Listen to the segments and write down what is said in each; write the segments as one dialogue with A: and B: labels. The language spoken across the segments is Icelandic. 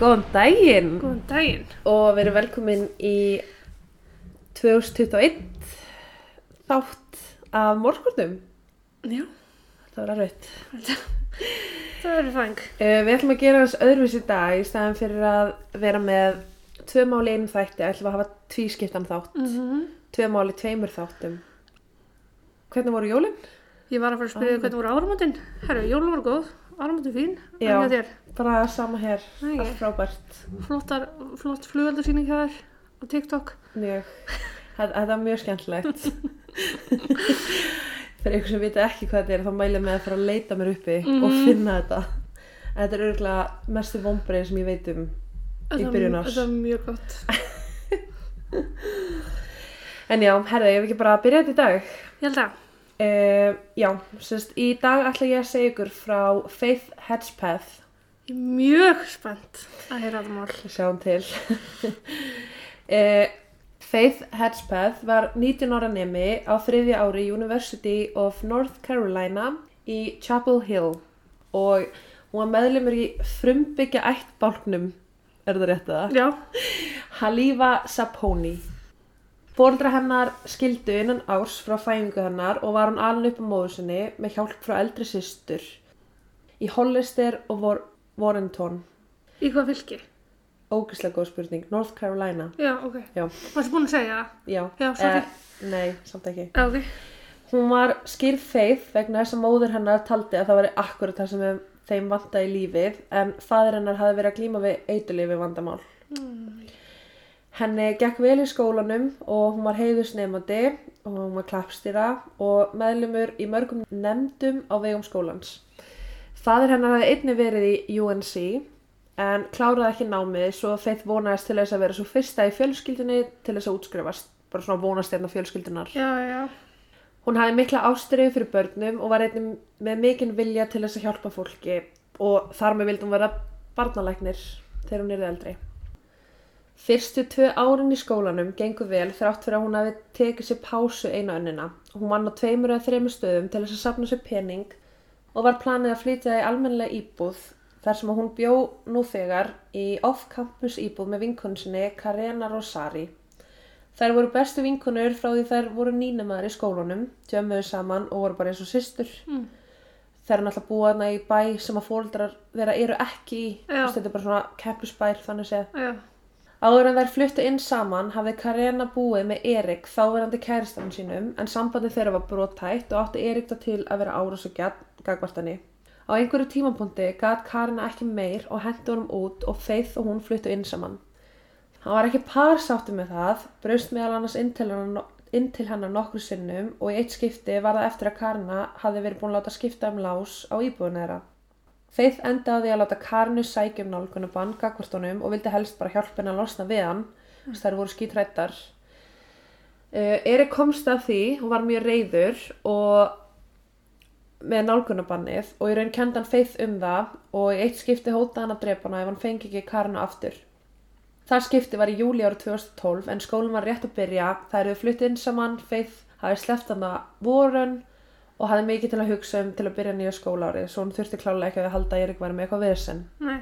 A: Góðan daginn
B: Góðan daginn.
A: og við erum velkomin í 2021 þátt af morgurnum.
B: Já,
A: Þetta var erfitt.
B: það verður fang.
A: Uh, við ætlum að gera þess öðruvis í dag í staðan fyrir að vera með tvö máli í einum þætti, ætlum við að hafa tvískiptan þátt,
B: Mm -hmm.
A: tvö máli í tveimur þáttum. Hvernig voru jólinn?
B: Ég var að fara að spyrja þig hvernig voru áramótin. Herru, jólun voru góð, áramótin fín. en
A: Já.
B: hjá Þér,
A: Bara sama hér,
B: Nei.
A: allt frábært.
B: flottar, flott flugaldarsýning hjá þér á TikTok.
A: Mjög, þetta þetta var mjög skemmtilegt. Fyrir ykkur sem vita ekki hvað þetta er, þá mælum ég með að fara að leita mér uppi og
B: Mhm.
A: finna þetta. Þetta er örgulega mestu vombrið sem ég veit um. Í
B: Þetta-
A: byrjun árs.
B: Þetta er mjög gott.
A: En já, herði, ég hef ekki bara að byrja þetta í dag.
B: Ég held að,
A: Uh, já, sérst, í dag ætla ég að segja ykkur frá Faith Hedgepath.
B: ég er mjög spennt að heyra þetta mál.
A: Við Sjáum til. uh, Faith Hedgepath var 19 ára nemi á þriðja ári í University of North Carolina í Chapel Hill og hún var meðlumur í frumbyggja ætt bálknum, er það rétt að það?
B: Já,
A: Halifa Saponi. Fóreldra hennar skildu innan árs frá fæðingu hennar og var hún alin upp á móður sinni með hjálp frá eldri systur í Hollister og Vor Warrenton.
B: í hvað fylki?
A: Ógislega góð spurning. North Carolina.
B: Já, ok.
A: Já.
B: Varstu búin að segja það?
A: Já, Eh,
B: Já, sorry.
A: nei, samt ekki.
B: Já, ok.
A: Hún var skýrð feið vegna þess að móður hennar taldi að það væri akkurat það sem þeim vantaði í lífið en fadir hennar hafði verið að glíma við eitulifi vandamál. Henni gekk vel í skólanum og hún var heiðusnefandi og hún var klappstýra og meðlumur í mörgum nefndum á vegum skólans. Fadir hennar hafði einni verið í UNC en kláraði ekki námið svo Faith vonaðist til þess að vera svo fyrsta í fjölskyldunni til þess að útskrifast. Bara svona vonast hérna fjölskyldunar.
B: Já, já.
A: Hún hafði mikla ástriðu fyrir börnum og var einnig með mikinn vilja til þess að hjálpa fólki og þar með vildi hún vera barnalæknir þegar hún yrði eldri. Fyrstu tvö árin í skólanum gengur vel þrátt fyrir að hún hafi tekið sér pásu eina önnina. Hún vann á tveimur eða þreimur stöðum til þess að safna sér pening og var planið að flytja í almennilega íbúð þar sem að hún bjó nú þegar í off-campus íbúð með vinkunsinni Karena Rosari. Þær voru bestu vinkunur frá því þær voru nýnumæður í skólanum, tjömmuðu saman og voru bara eins og systur.
B: Mm.
A: Þær er náttúrulega búið hana í bæ sem að fóreldrar þeirra eru ekki í,
B: Já.
A: Þú veist, þetta er bara svona keppusbær þannig séð.
B: Já,
A: Áður en þær fluttu inn saman hafði Karena búið með Erik þáverandi kæristanum sínum en sambandi þeirra var brottætt og átti Erik það til að vera árás og gagvartani. Á einhverju tímapunkti gat Karena ekki meir og hendi honum út og Faith og hún fluttu inn saman. Hann var ekki parsáttu með það, braust meðal annars inn til hennar, no- inn til hennar nokkur sinnum og í eitt skipti var það eftir að Karena hafði verið búin að láta skipta um lás á íbúinu þeirra. Faith endaði á því að láta Karnu sækja um nálgunabann gagvartunum og vildi helst bara hjálpa henni að losna við hann þess að þær voru skítrættar. Uh, Erik komst að því og var mjög reyður og með nálgunabannið og í raun kendi hann Faith um það og í eitt skipti hótaði hann að drepa hana ef hann fengi ekki Karnu aftur. Það skipti var í júli ára 2012 en skólinn var rétt að byrja, þær eru flutt inn saman, Faith hafi sleppt hann að vorun og hafði mikið til að hugsa um til að byrja nýja skólaárið svo hún þurfti klálega ekki að halda að Erik var með eitthvað vesinn.
B: nei.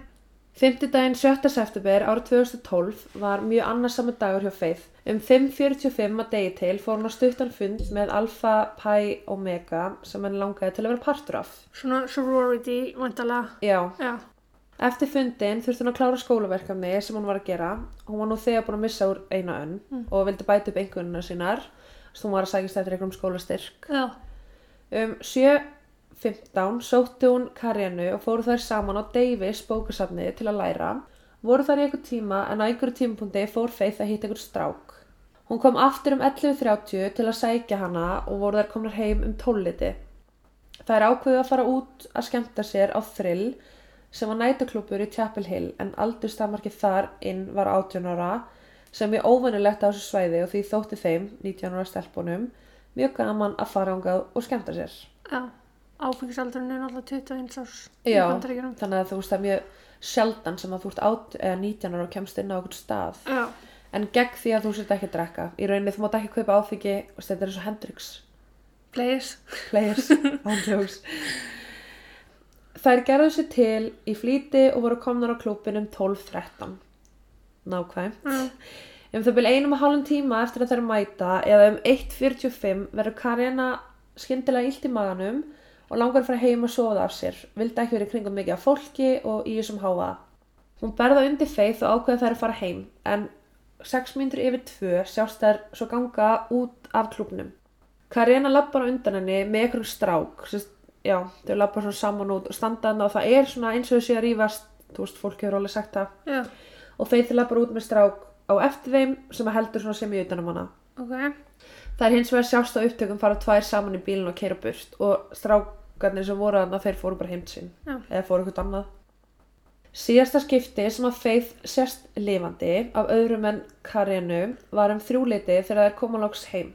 A: Fymtidaginn 7. september árið 2012 var mjög annarsamur dagur hjá Faith. Um 5.45 að degi til fór hún á stuttan fund með Alpha Pi Omega sem henni langaði til að vera partur af.
B: Svona sorority, vantalega.
A: Já,
B: Já,
A: Eftir fundin þurfti hún að klára skólaverkefni sem hún var að gera. Hún var nú þegar búin að missa úr eina önn og vildi bæta upp einhvernuna sínar. Svo hún var að sækist eftir einhverjum skólastyrk.
B: já.
A: Um 7.15 sótti hún Karjanu og fóru þær saman á Davis bókasafni til að læra. Voru þær í einhver tíma en á einhverju tímapunkti fór Faith að hitta einhver strák. Hún kom aftur um 11.30 til að sækja hana og voru þær komnar heim um 12.00. Það er ákveðið að fara út að skemmta sér á þrill sem var nætaklúpur í Chapel Hill en aldurstammarkið þar inn var 18 ára sem er óvennilegt á þessu svæði og því þótti þeim, 19 ára stelpunum, mjög gaman að fara ángað og skemmta sér.
B: Já, áfengisaldurinn er náttúrulega 21 árs
A: Já.
B: í bandaríkjunum.
A: Þannig að þú veist það er mjög sjaldan sem að þú ert át, eða 19 ára og kemst inn á okkur stað
B: Já,
A: en gegn því að þú sér ekki að drekka. Í rauninni þú mátt ekki kaupa áfengi og þetta er eins og Hendrix.
B: please.
A: players ándjóks Þær gerðu sér til í flýti og voru komnar á klúppin um 12.13. Nákvæmt.
B: Já.
A: Um það byrja einum og hálfum tíma eftir að þær mæta eða um 1.45 verður Karjana skyndilega illt í maganum og langar að fara heim og sofa af sér. Vildi ekki verið kringum mikið af fólki og í þessum háfaða. Hún berða undir feið og ákveða þær að fara heim en 6 mínútur yfir 2 sjást þær svo ganga út af klúbnum. Karjana lappar á undan henni með einhverjum strák. Sest, já, þau lappar svona saman út og standa hann og það er svona eins og þau sé að rífast. Þú veist, fólk hefur alveg sagt það
B: Já,
A: og Faith lappar út með strák á eftir þeim sem að heldur svona sem í utanum hana.
B: ok.
A: Það er hins vegar sjást á upptökum fara tvær saman í bílinn og keira burt og strákarnir sem voru þarna þeir fóru bara heimt sín
B: Já.
A: eða fóru eitthvað annað. Síðasta skipti sem að Faith sérst lifandi af öðrum en Karenu var um þrjúleiti þegar þær koma loks heim.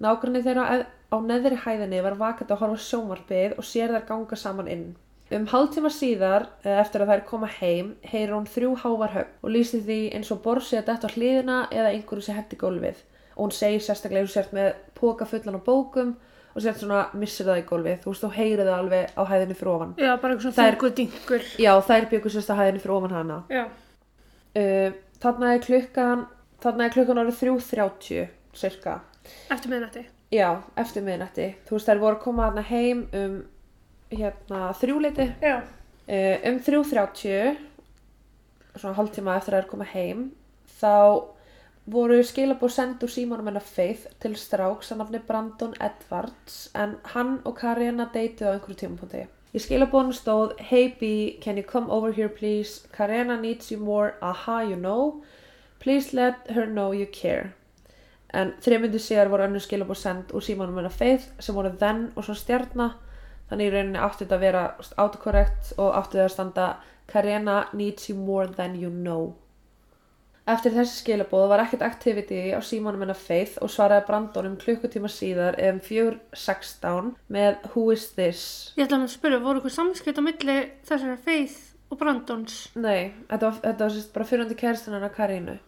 A: Nágrinni þeirra eð- á neðri hæðinni var vakandi að horfa á sjónvarpið og sér þær ganga saman inn. Um hálftíma síðar, eða eftir að þær koma heim, heyrir hún þrjú hávar högg og lýsir því eins og borð sé að detta á hliðina eða einhverju sé hætti gólfið. Og hún segir sérstaklega að þú sért með póka fullan á bókum og sért svona missir það í gólfið. Þú veist, þú heyrið það alveg á hæðinni fyrir ofan.
B: Já, bara eitthvað svona
A: Það er-
B: þungur dingur.
A: Já, þær byggur sérst á hæðinni fyrir ofan hana.
B: Já,
A: Uh, þarna er klukkan, þarna er klukkan orðið 3.30, cirka.
B: eftir miðnætti.
A: Já, eftir miðnætti. Þú veist, þær voru að koma þarna heim um hérna, þrjúleiti,
B: Já,
A: uh, um 3.30, svona hálftíma eftir að þær koma heim, þá voru skilabóð send úr símanum hennar Faith til stráks að nafni Brandon Edwards en hann og Karjana deytið á einhverju tímapunkti. Í skilabóðunum stóð Hey B, can you come over here please? Karjana needs you more, aha you know, please let her know you care. En þreymundi síðar voru önnur skilabóð send úr símanum hennar Faith sem voru then og svo stjarna. Þannig í rauninni átti þetta að vera autocorrect og átti það að standa Karena needs you more than you know. Eftir þessi skilabóð var ekkert activity á símanum hennar Faith og svaraði Brandon um klukkutíma síðar eða um 4.16 með Who is this?
B: ég ætla að spyrja, voru eitthvað samskipt á milli þessara Faith og Brandons?
A: Nei, þetta var, þetta var sérst bara fyrrandi kæristin hennar Karinu.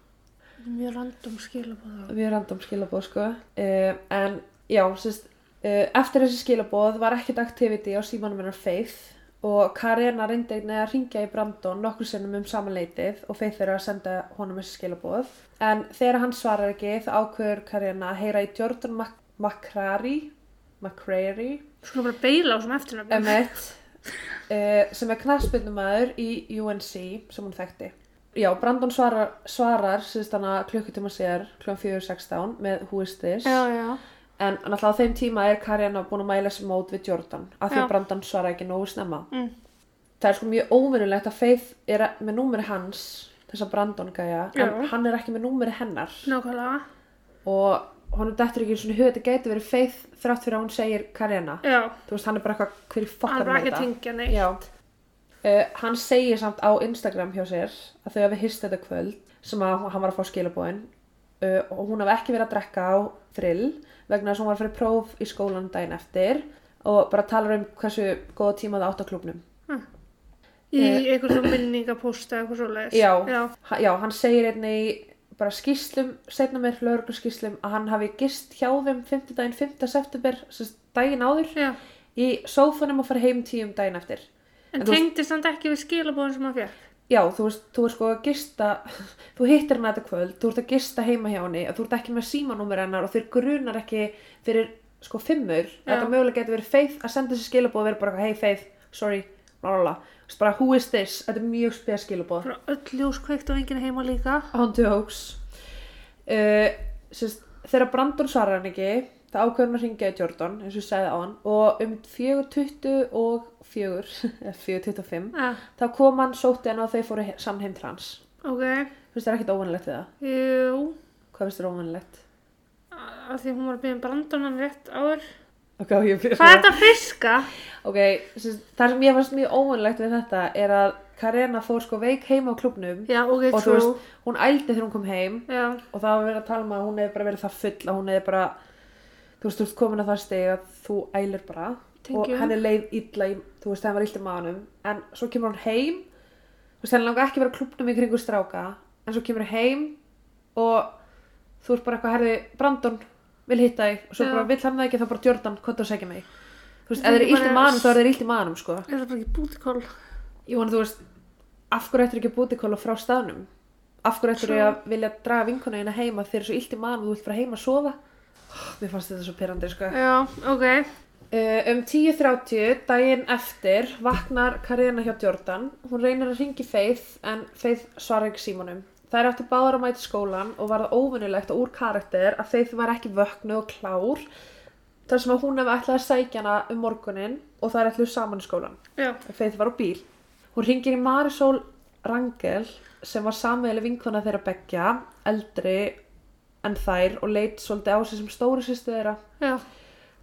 B: Þetta er Mjög random skilabóð.
A: Mjög random skilabóð sko. Uh, en já, sérst, uh, eftir þessi skilabóð var ekkert activity á símanum hennar Faith og Karina reyndi einnig að ringja í Brandon nokkur sinnum um samanleitið og Faith er að senda honum þessi skilabóð. En þegar hann svarar ekki þá ákveður Karina að heyra í Jordan Mac Macrari, Macrari
B: Skulum bara beila á svona eftirnafnum.
A: Emmett uh, sem er knassbyndumæður í UNC sem hún þekkti. Já, Brandon svarar, svarar síðust hana klukkutíma sér kl. 4.16 með Who is this?
B: Já, já.
A: En náttúrulega á þeim tíma er Karjana búin að mæla sér mót við Jordan af því
B: Já.
A: að Brandon svarar ekki nógu snemma.
B: Mm.
A: Það er sko mjög óvinnulegt að Faith er með númeri hans, þessa Brandon gæja, en
B: Já.
A: hann er ekki með númeri hennar
B: Nákvæmlega.
A: og honum dettur ekki svona huga þetta gæti verið Faith þrátt fyrir að hún segir Karjana.
B: Já,
A: Þú veist, hann er bara eitthvað, hver í
B: hann
A: fokkar
B: er bara ekki að tengja neitt.
A: Já. Uh, hann segir samt á Instagram hjá sér að þau hafi hýst þetta kvöld sem að hann var að fá skilabóin uh, og hún hafi ekki verið að drekka á frill vegna þess að hún var að fyrir próf í skólan daginn eftir og bara talar um hversu góða tíma það átt á klubnum.
B: Í einhvern svona minningapósta eða eitthvað svoleiðis.
A: Já,
B: eh. Já,
A: ha- já, hann segir einnig í bara skýslum, setna mér lögur skýslum að hann hafi gist hjá þeim 5. daginn 5. september, sem sagt daginn áður,
B: já.
A: í sófanum og fara heim tíum daginn eftir.
B: En
A: En þú-
B: tengdist hann ekki við skilabóðin sem hann fekk?
A: Já, þú veist, þú er sko að gista, þú hittir hennar þetta kvöld, þú ert að gista heima hjá henni, þú ert ekki með símanúmer hennar og þeir grunar ekki fyrir sko fimmur,
B: Já.
A: þetta mögulega getur verið Faith að senda þessi skilabóð og vera bara hey Faith, sorry, la la la, Þú veist, bara who is this, þetta er mjög spes skilabóð,
B: Bara öll ljós kveikt og enginn heima líka.
A: on jokes. Uh, sérst, þegar Brandon svarar hann ekki, það ákveður hann að ringja í Jordan, eins og ég segði á hann, og um 4.20 og 4, eða 4.25,
B: Já,
A: þá kom hann, sótti hann og þau fóru he- saman heim til hans.
B: ok.
A: Finnst þér ekkert óvanilegt við það?
B: Jú,
A: Hvað finnst þér óvanilegt?
B: af því hún var að byggja um brandarann rétt áður.
A: Ok, ég fyrir
B: Hvað er þetta að fiska?
A: Ok, sem, það sem ég fannst mjög óvanilegt við þetta er að Karena fór sko veik heima á klubnum
B: Já, ok,
A: og þú
B: true.
A: veist, hún ældi þegar hún kom heim
B: Já,
A: og það var verið að tala um að hún hefði bara verið það full að hún hefði bara, þú veist, þú veist komin að það stegi að þú ælir bara
B: Thank
A: og
B: you.
A: henni leið illa í, þú veist, henni var illa í maðanum en svo kemur hún heim þú veist, henni langar ekki að vera á klubnum í kringu stráka en svo kemur hún heim og þú ert bara eitthvað herði Brandon vil hitta þig og svo
B: Já.
A: bara vill hann það ekki þá bara Jordan, hvað þú segja mig þú Þú veist, ef þeir eru illt í
B: Bara-
A: manum, þá er þeir illt í manum, sko.
B: Er það bara ekki bútikál?
A: Ég vona, þú veist, af hverju ættir ekki að búti kóla frá staðnum? Af hverju ættir ég að vilja draga vinkona hérna heima þegar þú er svo illt í manum og þú vilt fara heima að sofa? Mér fannst þetta svo perandi, sko.
B: Já, ok.
A: Uh, Um 10.30 daginn eftir vaknar Karina hjá Jordan. Hún reynir að ringi Faith en Faith svarar ekki símanum. Það er eftir báðar að mæta í skólan og var það óvinnulegt og úr karakter að Faith var ekki vöknu og klár þar sem að hún hefði ætlað að sækja hana um morgunin og það er ætluð saman í skólan.
B: Já.
A: Faith var á bíl. Hún ringir í Marisol Rangel sem var samvegli vinkona þeirra beggja, eldri en þær og leit svolítið á sig sem stóri sýstu þeirra.
B: Já.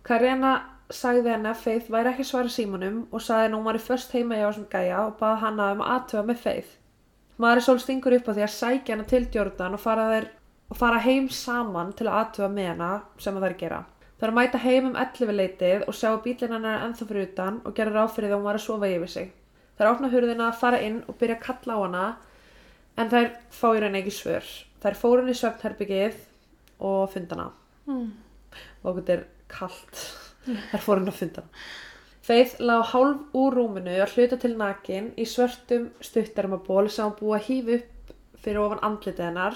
A: Karina sagði henni að Faith væri ekki að svara símanum og sagði henni að hún var í först heima hjá sem gæja og bað hana um að aðtöfa með Faith. Marisol stingur upp á því að sækja hana til Jordan og fara, þeir, og fara heim saman til að aðtöfa með hana sem að þær gera. Það er að mæta heim um 11 leitið og sjá að bílinn hennar er ennþá fyrir utan og gera ráð fyrir því að hún var að sofa yfir sig. Það er að opna hurðina að fara inn og byrja að kalla á hana en þær fá í rauninni ekki svör. Þær fóru henni í svefnherbyggið og fundana
B: Mm.
A: og þetta er kalt þær fóru hann að funda Faith lág hálf úr rúminu að hluta til nakin í svörtum stuttarmaból sem hún búið að hýfa upp fyrir ofan andlitið hennar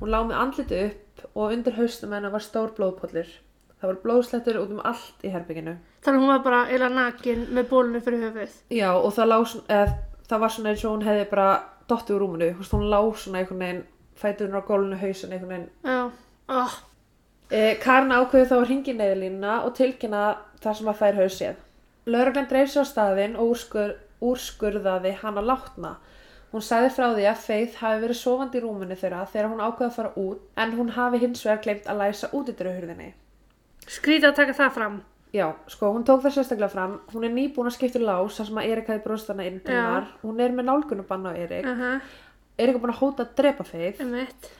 A: hún lág með andlitið upp og undir haustum hennar var stór blóðpollir það var blóðslettur út um allt í herbygginu
B: Þannig að hún var bara eila nakin með bólunum fyrir höfuð.
A: já og það, lá, svona- eð, það var svona eins og hún hefði bara dottið úr rúminu Þú veist, hún lág svona einhvern veginn fæturinn á gólunu hausin einhvern veginn
B: Já. Oh.
A: Eh, Karin ákveður þá að ringi neyðlínuna og tilkynna þar sem að þær höfðu séð. Lörglann dreif sér á staðinn og úrskur, úrskurðaði hana látna. Hún sagði frá því að Faith hafi verið sofandi í rúminu þeirra þegar hún ákveði að fara út en hún hafi hins vegar glemt að læsa útidröðhurðinni.
B: Skrítið að taka það fram.
A: Já, sko, hún tók það sérstaklega fram. Hún er nýbúin að skipta um lás þar sem að Erik hafi brúst hana inn til
B: Já.
A: hennar. Hún er með nálgunubann á Erik.
B: Aha.
A: Erik er búin að hóta að drepa Faith.
B: Emmett.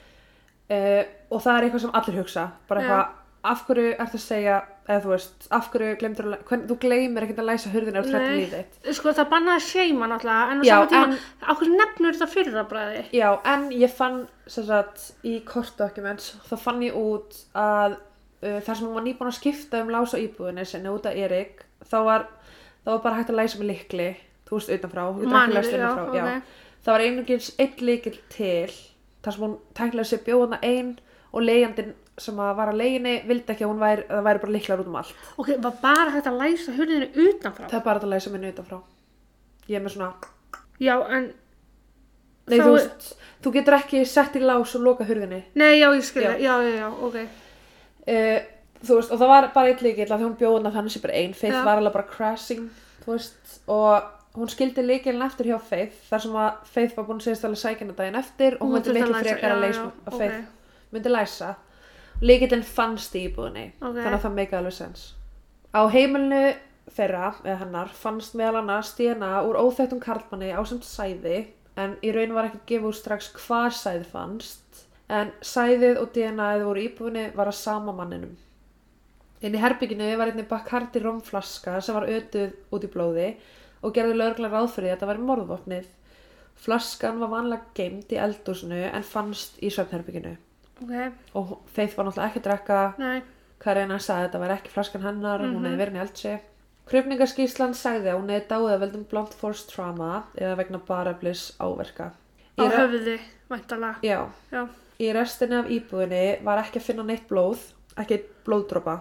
A: uh, og það er eitthvað sem allir hugsa bara
B: Já.
A: eitthvað, af hverju ertu að segja eða þú veist, af hverju glemdur að læ- hvern, þú gleymir ekkert að læsa hurðin ef þú þrættir líf þitt
B: Sko það bannaði seima náttúrulega, en á
A: Já,
B: sama tíma,
A: en-
B: en... okkur nefnur þetta fyrra bræði.
A: já, en ég fann sem sagt, í kort documents, þá fann ég út að uh, þar sem hún var nýbúin að skipta um lása íbúðinni sinni út af Erik þá var, þá var bara hægt að læsa með likli þú veist, utanfrá, ég drakk
B: Manuel,
A: læst
B: já,
A: innanfrá, já.
B: ok.
A: það var einungins einn líkil til þar sem hún tæklaði sér bjóðana ein og leigjandinn sem að var að leiginni vildi ekki að hún væri, að það væri bara líklar út um allt
B: Ok, var bara hægt að læsa hurðinu utanfrá?
A: það er bara hægt að læsa minni utanfrá ég er með svona
B: Já, en...
A: nei,
B: Þá
A: þú,
B: er-
A: veist, þú getur ekki sett í lás og loka hurðinni
B: Nei, já, ég skilja.
A: Já.
B: Já, já, já, ok.
A: uh, þú veist, og það var bara eitt líkil af því hún bjóðna þannig sem bara ein Faith
B: Já.
A: var alveg bara crashing þú veist, og hún skildi líkilin eftir hjá Faith þar sem að Faith var búin að segist alveg sækina daginn eftir og hún myndi
B: þurfti að
A: miklu
B: læsa,
A: frekar
B: já,
A: að
B: já,
A: leysa að
B: ok.
A: Faith myndi læsa líkilin fannst í íbúðinni
B: Ok.
A: þannig að það meika alveg sens á heimilinu þeirra, eða hennar, fannst meðal annars stjena úr óþættum karlmanni á sem sæði en í raun var ekki gefið úr strax hvað sæði fannst en sæðið og DNAið voru íbúinni var að sama manninum. Inn í herbygginu var einnig Bacardi romflaska sem var ötuð út í blóði og gerði lögregla ráð fyrir því að þetta væri morðvopnið. Flaskan var vanlega geimd í eldúsinu en fannst í svefnherbygginu
B: Ok,
A: og Faith var náttúrulega ekki að drekka
B: nei.
A: Karina sagði að þetta var ekki flaskan hennar, hún
B: Mhm.
A: hefði verið í eldsi. Krufningaskíslan sagði að hún hefði dáið af veldum blunt force trauma eða vegna bareflis áverka.
B: Á
A: Í, re
B: höfði, væntalega.
A: já,
B: Já.
A: í restinni af íbúðinni var ekki að finna neitt blóð, ekki blóðdropa,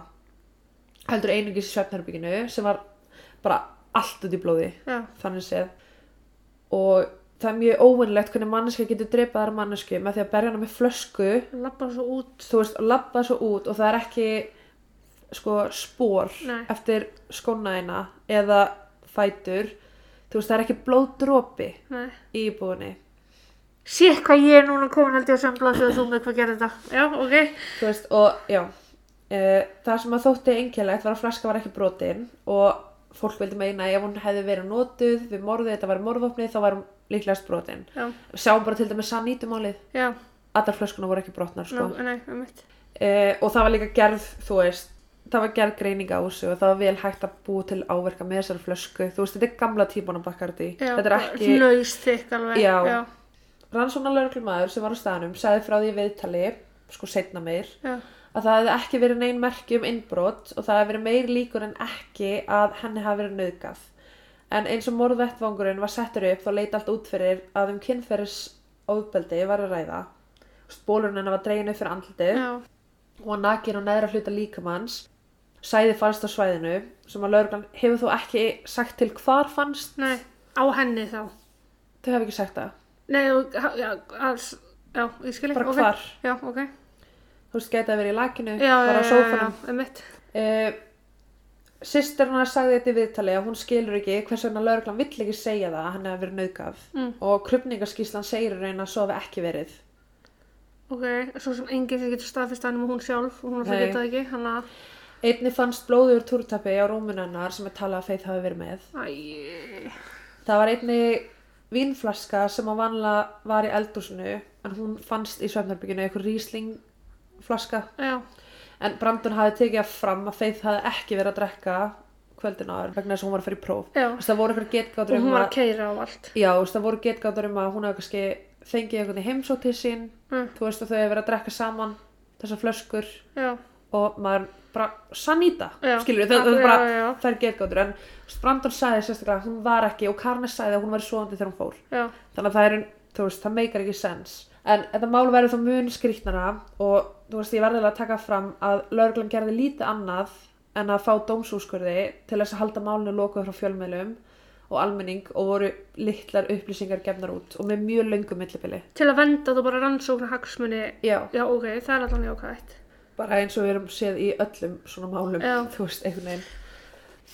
A: heldur einungis í svefnherbygginu sem var bara allt út í blóði,
B: Já,
A: þannig séð. Og það er mjög óvinnlegt hvernig manneska getur dreipað þar mannesku með því að berja hana með flösku
B: lappa svo út.
A: þú veist, labba svo út og það er ekki sko spór
B: Nei.
A: eftir skónaðina eða fætur þú veist, það er ekki blóðdropi
B: Nei.
A: í íbúðinni
B: Sér hvað ég er núna komin held ég á samblásið og þú með hvað gerir þetta. Já, ok.
A: þú veist, og já e, það sem að þótti einkjælegt var að flaska var ekki brotin og fólk vildi meina að ef hún hefði verið notuð við morðið, þetta var morðvopnið, þá var hún líklegast brotin
B: Já,
A: sjáum bara til dæmis sann ítumálið
B: já.
A: allar flöskuna voru ekki brotnar sko.
B: Sko. Nei, um mitt.
A: Eh, og það var líka gerð, þú veist, það var gerð greining á þessu og það var vel hægt að búa til áverka með þessari flösku. Þú veist, þetta er gamla típan á Bacardi. þetta er ekki...
B: Laus þykk alveg.
A: Já.
B: Já,
A: Rannsóknarlauglumæður sem var á staðnum sagði frá því í viðtali, sko setna meir,
B: já.
A: að það hefði ekki verið neyn merki um innbrot og það hefði verið meiri líkur en ekki að henni hafi verið nöðgað. En eins og morðvettvangurinn var settur upp þá leit allt út fyrir að um kynferðis ofbeldi var að ræða. Spólurinn hennar var dregin upp fyrir andlitið
B: Já.
A: og nakin og neðra hluta líkamanns sæði fannst á svæðinu sem að lauruglan hefur þó ekki sagt til hvar fannst
B: Nei, á henni þá.
A: þau hafa ekki sagt það
B: Nei, og- já, alls, já, ég skil ekki.
A: Bara
B: ok.
A: hvar?
B: Já, ok.
A: þú veist gæti að vera í lakinu,
B: Já,
A: bara á
B: já,
A: sófanum
B: Já, emitt.
A: uh, Sýstir hennar sagði þetta í viðtali að hún skilur ekki hvers vegna lauruglan vill ekki segja það að hann hefur verið nauðgaf
B: Mm.
A: og krupningaskíslan segir í raun að svo hafi ekki verið
B: Ok, svo sem enginn sem getur staðfist hann um hún sjálf og hún alltaf
A: Nei.
B: geta það ekki, hann að,
A: Einni fannst blóður túrtappi á rúminu hennar sem er talað að Faith hafi verið með
B: æj,
A: Það var einni vínflaska sem á vanlega var í eldúsinu en hún fannst í svefnarbygginu einhver ríslingflaska
B: já,
A: en Brandon hafi tekið það fram að Faith hafi ekki verið að drekka kvöldin áður vegna þess að hún var að fara í próf
B: já.
A: Þú veist, Það voru eitthvað getgátur
B: Og hún
A: um
B: var
A: að
B: að keira á allt.
A: Já, þú veist, það voru getgátur um að hún hefði kannski fengið einhvern í heimsók til sín
B: Mm.
A: þú veist að þau hefur verið að drekka saman þessar flöskur
B: Já,
A: og maður bara sannýta
B: Já.
A: skilur þau, þau
B: Já,
A: bara
B: já, já.
A: þær getgátur en þú veist, Brandon sagði sérstaklega að hún var ekki og Karnes sagði að hún var svoandi þegar hún fór
B: já,
A: þannig að það er, þú veist, það meikar ekki sens en þetta mál verður þá mun skrýtnara og þú veist, ég verðilega að taka fram að lauruglan gerði lítið annað en að fá dómsúskurði til þess að halda málinu lokuð frá fjölmiðlum og almenning og voru litlar upplýsingar gefnar út og með mjög löngu millibili
B: til að venda þú bara rannsóknar hagsmunni.
A: Já,
B: Já, ok, það er allan jákvægt.
A: bara eins og við erum séð í öllum svona málum,
B: Já.
A: þú veist, einhvern veginn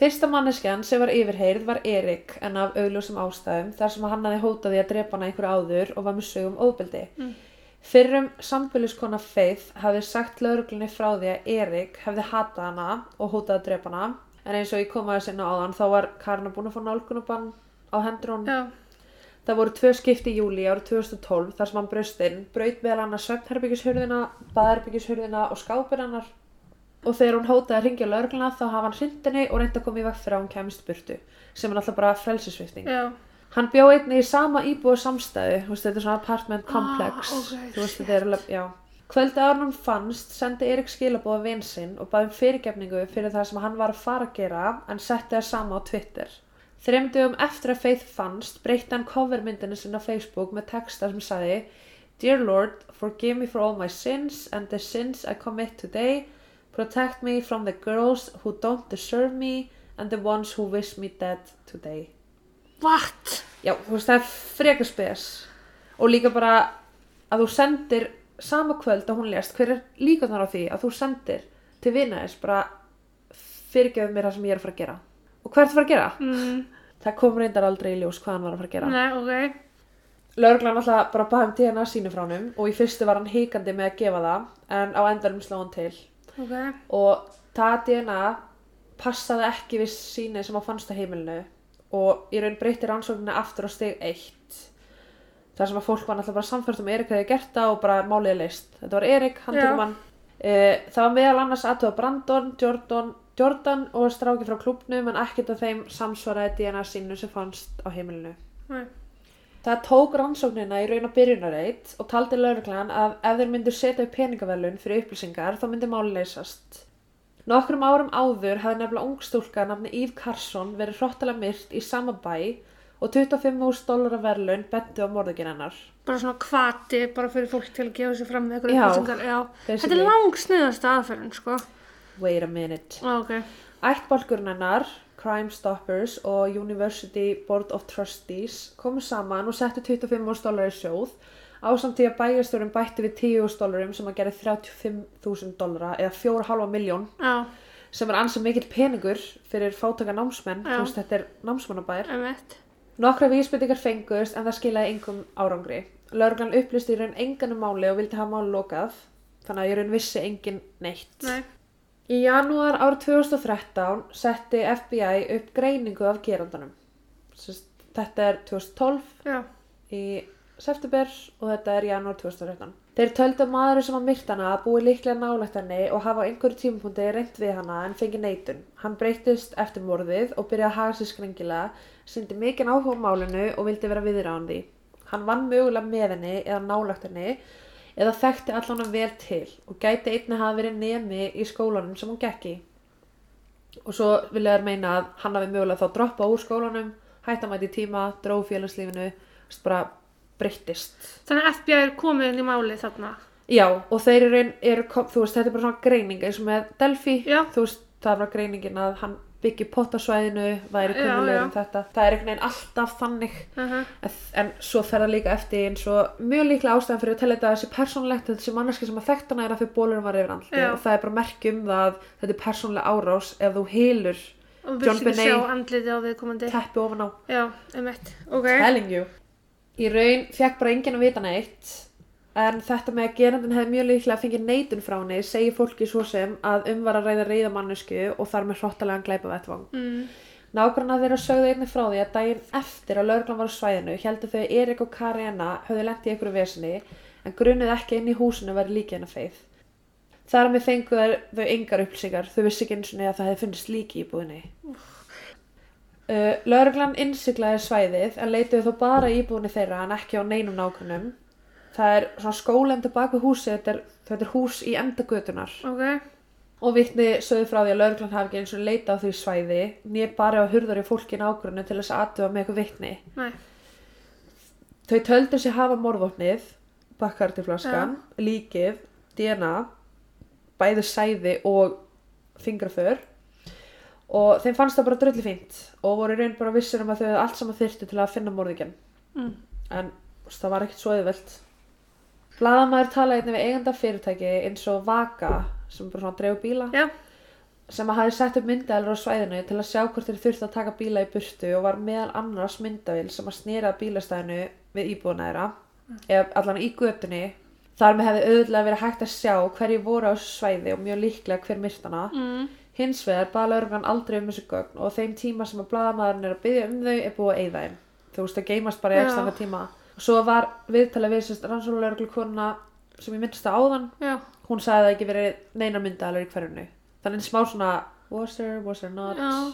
A: Fyrsta manneskjan sem var yfirheyrð var Erik en af augljósum ástæðum þar sem hann hafði hótað því að drepa hana einhverju áður og var með sögum óbeldi. Mm. Fyrrum sambyliskona Faith hafði sagt lauruglunni frá því að Erik hefði hatað hana og hótað að drepa hana en eins og ég kom aðeins inn á áðan þá var Karna búin að fá nálgunabann á hendur hún.
B: Já,
A: Það voru tvö skipti í júli árið 2012 þar sem hann braust inn, braut meðal annars svefnherbyggjishurðina, baðherbyggjishurðina og skápir hennar og þegar hún hótaði að ringja lögregluna þá hafa hann hrindinni og reynda að koma í veg fyrir að hún kemist burtu sem er alltaf bara frelsisvifting.
B: já,
A: Hann bjó einnig í sama íbúið samstæðu, þú veist, þetta er svona apartment complex,
B: Ah, ok,
A: þú veist þetta er alveg, já. Kvöldi áður en hún fannst sendi Erik skilabóða vin sinn og baði um fyrirgefningu fyrir það sem hann var að fara að gera en setti það sama á Twitter. Þrem dögum eftir að Faith fannst breytti hann covermyndinu sinna á Facebook með texta sem sagði Dear Lord, forgive me for all my sins and the sins I commit today. Protect me from the girls who don't deserve me and the ones who wish me dead today.
B: what?
A: Já, þú veist, það er frekar spes og líka bara að þú sendir sama kvöld að hún lést, hver er líka þar á því að þú sendir til vinaðis bara fyrirgefðu mér það sem ég er að fara að gera og hvað ertu að fara að gera?
B: Mm,
A: Það kom reyndar aldrei í ljós hvað hann var að fara að gera
B: nei, ok,
A: Lörglan alltaf bara baði um DNA sínu frá hann og í fyrstu var hann heikandi með að gefa það en á endanum slá hann til
B: ok,
A: og það DNA passaði ekki við síni sem að fannst á heimilinu og í raun breytti rannsóknina aftur á stig 1 þar sem að fólk var náttúrulega bara samfært um Erik hefði gert það og bara málið er leist þetta var Erik, hann
B: Já.
A: tekum hann Eh, það var meðal annars aðtöða Brandon, Jordan, Jordan og stráki frá klubnum en ekkert af þeim samsvaraði DNA sínu sem fannst á heimilinu
B: nei,
A: Það tók rannsóknina í raun og byrjunareit og taldi lauruglan að ef þeir myndu setja upp peningavelun fyrir upplýsingar þá myndi máli leysast. Nokkrum árum áður hafði nefnilega ungstúlka nafni Yves Carson verið hrottalega myrt í sama bæ og 25.000 dólar af verðlaun bentu á morðuginn hennar.
B: bara svona kvati, bara fyrir fólk til að gefa sér fram með eitthvað
A: Já,
B: upplýsingar, já, þetta er
A: basically.
B: langsniðast aðferðin, sko,
A: Wait a minute.
B: já, ok,
A: Ættbálkurinn hennar, Crime Stoppers og University Board of Trustees komu saman og settu 25.000 dólar í sjóð á samtíð að bæjarstjórum bætti við 10.000 dólarum sem að gera 35.000 dólara eða 4,5 miljón
B: já,
A: sem er ansið mikill peningur fyrir fátaka námsmenn,
B: Já.
A: þú veist þetta er námsmannabær.
B: emitt,
A: Nokkra vísbyttingar fengust en það skilaði engum árangri. Lörgan upplýsti í raun enganum máli og vildi hafa máli lokað þannig að ég raun vissi engin neitt.
B: nei,
A: Í janúar árið 2013 setti FBI upp greiningu af gerandanum. Sest, þetta er 2012
B: já,
A: í september og þetta er janúar 2013. Þeir töldu að maður sem að myrta hana að búi líklega nálægt henni og hafa á einhverju tímapunkti reynt við hana en fengi neitun. Hann breytist eftir morðið og byrjaði að haga sér skringilega, syndi mikinn áhuga á málinu og vildi vera viðráðandi. Hann vann mögulega með henni eða nálægt henni eða þekkti allan hann vel til og gæti einnig hafa verið nemi í skólanum sem hún gekk í. Og svo vilja þær meina að hann hafi mögulega þá droppað úr skólanum, hætt að mæti tíma, dró félagslífinu, þú veist, bara breyttist.
B: Þannig að FBI er komið inn í málið þarna.
A: Já, og þeir eru, eru kom- þú veist, þetta er bara svona greining eins og með Delphi,
B: Já.
A: þú veist, það var greiningin að hann byggi pottasvæðinu, væri
B: Já,
A: kunnulegur
B: já.
A: um þetta. Það er einhvern veginn alltaf þannig,
B: Uh
A: en, en svo fer það líka eftir eins og mjög líklega ástæðan fyrir að tella þetta að þessi persónlegt, þessi manneski sem að þekkt hana er að þau bólurinn var yfir andli
B: Já.
A: og það er bara merki um það að þetta er persónlega árás ef þú hylur
B: Og
A: John
B: vilt ekki
A: Benet.
B: sjá andliti á viðkomandi.
A: teppi ofan á.
B: Já, einmitt. Ok.
A: Telling you. Í raun fekk bara enginn að vita neitt en þetta með að gerandinn hefði mjög líklega að fengið neitun frá henni segir fólki svo sem að um var að ræða reyða mannesku og þar með hrottalegan glæpa vettvang.
B: Mm.
A: Nágranna þeirra sögðu einnig frá því að daginn eftir að lauruglan var á svæðinu heldur þau að Erik og Karina höfðu lent í einhverju vesinni en grunuð ekki inn í húsinu að vera líki hennar feið. Þar með fengu þær- þau engar upplýsingar, þau vissi ekki eins og að það hefði fundist líki í búðinni. Uh, Lörglan innsiklaði svæðið en leituðu þó bara í íbúinu þeirra en ekki á neinum nákvæmum. Það er svona skólendi bak við húsið, þetta er, þetta er hús í endagötunar.
B: Ok.
A: Og vitni sögðu frá því að lörglan hafi ekki eins og leita á því svæði, nýr bara á hurðar í fólkin ágrunni til þess að aðtöfa með eitthvað vitni.
B: Nei.
A: Þau töldu sig hafa morðvopnið, bakkartiflaskan, líkið, DNA, bæði sæði og fingraför og þeim fannst það bara dröllu fínt og voru í raun bara vissir um að þau hefðu allt saman þyrtu til að finna morðingjan.
B: Mm.
A: En þú veist, það var ekkert svo auðvelt. Blaðamæður talaði einnig við eiganda fyrirtæki eins og Vaka, sem er bara svona drefu bíla,
B: Já.
A: sem að hafi sett upp myndaðilur á svæðinu til að sjá hvort þeir þurfti að taka bíla í burtu og var meðal annars myndaðil sem að snýra bílastæðinu við íbúðuna þeirra eða allan í götunni þar með hefði auðvitað verið hægt að sjá hverju voru á þessu svæði og mjög líklega hver myrtana
B: Mm.
A: hins vegar baða lauruglan aldrei um þessu gögn og á þeim tíma sem að bladamaðurinn er að byggja um þau er búið að eyða þeim þú veist að geymast bara í
B: Já.
A: ekstra tíma og svo var viðtalið við sérst rannsóluleuruglukonuna sem ég myndist að áðan
B: Já.
A: hún sagði að það ekki verið neina myndaðalur í hverjunu. Þannig smá svona was there, was there not.
B: Já.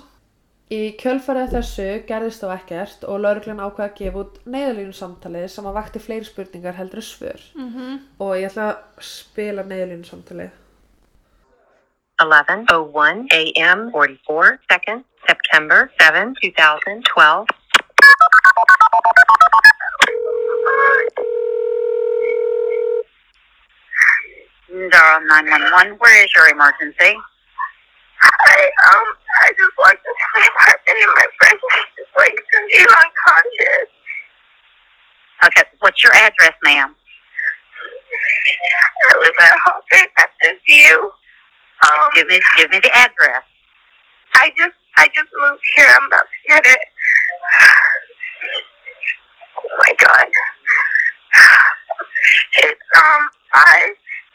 A: Í kjölfarið þessu gerðist þá ekkert og lauruglan ákvað að gefa út neyðalínu samtalið sem að vakti fleiri spurningar heldur en svör.
B: Mm
A: Og ég ætla að spila neyðalínu samtalið.
C: 11:01 a.m. 44 seconds, September 7, 2012. Zara 911, where is your emergency?
D: I um I just walked into my apartment and my friend was just like completely unconscious.
C: Okay, what's your address, ma'am?
D: I was at Hallford at this view. Um
C: Give me, give me the address.
D: I just I just moved here, I'm about to get it. Oh my god. It's um five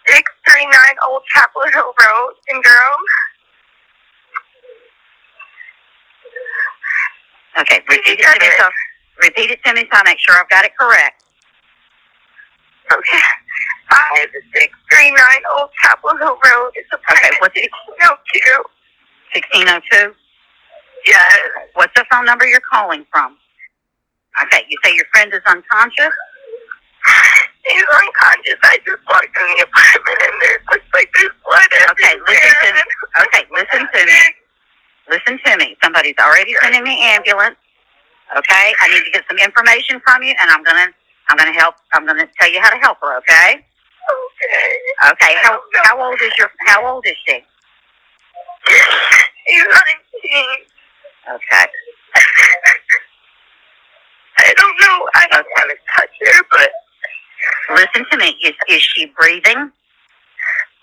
D: six three nine Old Chapel Hill Road in Durham.
C: Okay, repeat it to me so, repeat it to me so I make sure I've got it correct.
D: Okay. Five six three nine Old Chapel Hill Road. It's apartment
C: Okay, what's it,
D: No, oh two.
C: 1602?
D: Yes.
C: What's the phone number you're calling from? Okay, you say your friend is unconscious?
D: He's unconscious. I just walked in the apartment and there's looks like there's blood
C: Okay, listen to me. Okay, listen to me. Listen to me. Somebody's already sending me ambulance. Okay, I need to get some information from you, and I'm gonna, I'm gonna help. I'm gonna tell you how to help her. Okay.
D: Okay.
C: Okay. How how old is your How old is she?
D: He's 19.
C: Okay.
D: I don't know. I don't want to touch her, but
C: Listen to me. Is is she breathing?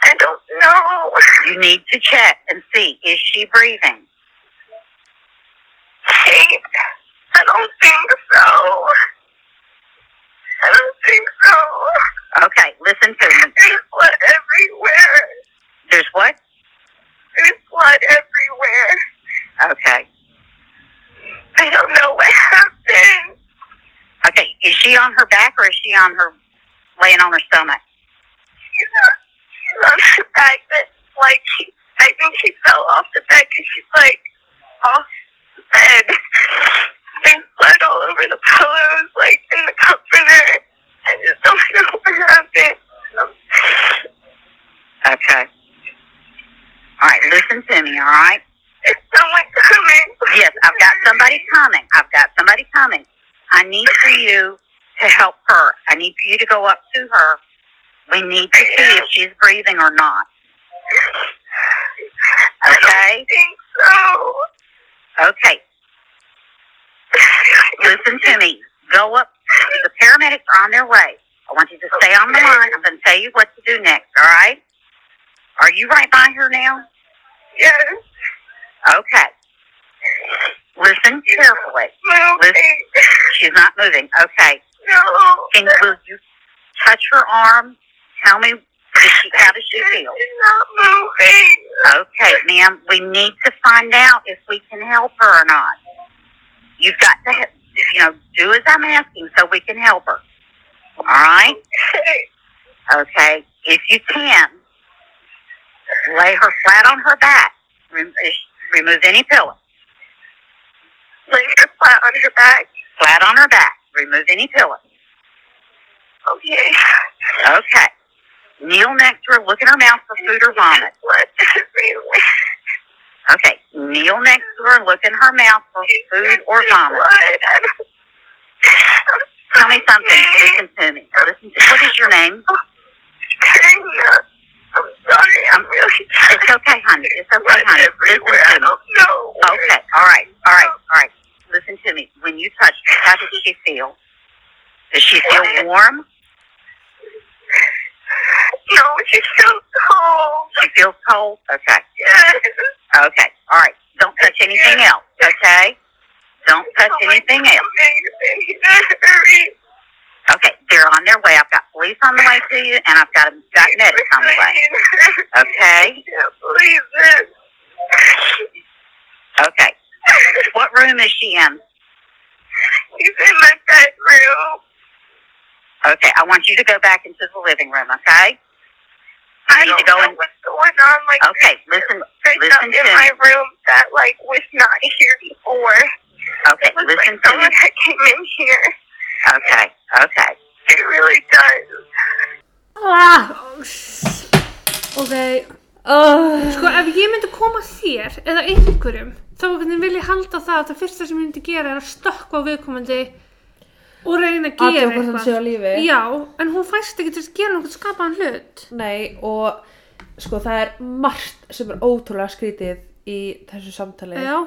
D: I don't know.
C: You need to check and see. Is she breathing?
D: Kate, I don't think so. I don't think so.
C: Okay. Listen to me.
D: There's blood everywhere.
C: There's what?
D: There's blood everywhere.
C: Okay.
D: I don't know what happened.
C: Okay. Is she on her back or is she on her laying on her stomach?
D: She's not, she's on her back, but like she, I think she fell off the bed because she's like off the bed. There's blood all over the pillows, like in the comforter. I just don't know what happened.
C: Okay. All right, listen to me, all right?
D: Is someone coming?
C: Yes, I've got somebody coming. I've got somebody coming. I need for you to help her. I need for you to go up to her. We need to see if she's breathing or not.
D: I
C: Okay?
D: don't think so.
C: Okay, listen to me. Go up. The paramedics are on their way. I want you to stay on the line. I'm going to tell you what to do next, all right? Are you right by her now?
D: yes,
C: Okay. Listen carefully.
D: moving.
C: She's not moving. Okay.
D: No.
C: Can will you touch her arm? Tell me does she, how does she feel?
D: It's not moving.
C: Okay, ma'am. We need to find out if we can help her or not. You've got to, he- you know, do as I'm asking so we can help her. All right. Okay. If you can, lay her flat on her back. Rem- eh, remove any pillow.
D: Lay her flat on her back.
C: Flat on her back. Remove any pillow.
D: Okay.
C: Okay. Kneel next to her. Look in her mouth for food or vomit.
D: Blood everywhere.
C: Okay. Kneel next to her. Look in her mouth for food or vomit.
D: Blood.
C: Tell me something. Listen to me. Listen to What is your name?
D: I'm sorry. I'm really tired.
C: It's okay, honey. It's okay,
D: Blood
C: honey.
D: everywhere. I
C: Listen to me.
D: don't know.
C: Okay. All right. All right. All right. Listen to me. When you touch her, how does she feel? Does she feel warm?
D: No, she's so cold.
C: She feels cold? Okay.
D: Yes.
C: Okay. All right. Don't touch anything else. Okay? Don't touch anything else.
D: Amazing. Hurry.
C: Okay, they're on their way. I've got police on the way to you, and I've got got medics on the way. Okay,
D: can't believe this.
C: okay. What room is she in?
D: He's in my bedroom.
C: Okay, I want you to go back into the living room. Okay. I need
D: don't
C: to go
D: know
C: in.
D: what's going on. Like,
C: Okay, listen.
D: there's
C: listen
D: something in
C: to
D: my room that like was not here before.
C: Okay,
D: It was
C: listen
D: like
C: to me.
D: someone had came in here.
C: Okay, okay.
D: It really does.
B: Ah, ok
A: Oh.
B: Sko, ef ég myndi koma þér eða einhverjum, þá hvernig vil ég halda það að það fyrsta sem ég myndi gera er að stökkva á viðkomandi og reyna að gera
A: Athuga hvort hún sé á lífi.
B: Já, en hún fæst ekki til að gera nokkuð skapaðan hlut.
A: Nei, og sko það er margt sem er ótrúlega skrítið í þessu samtali.
B: Já,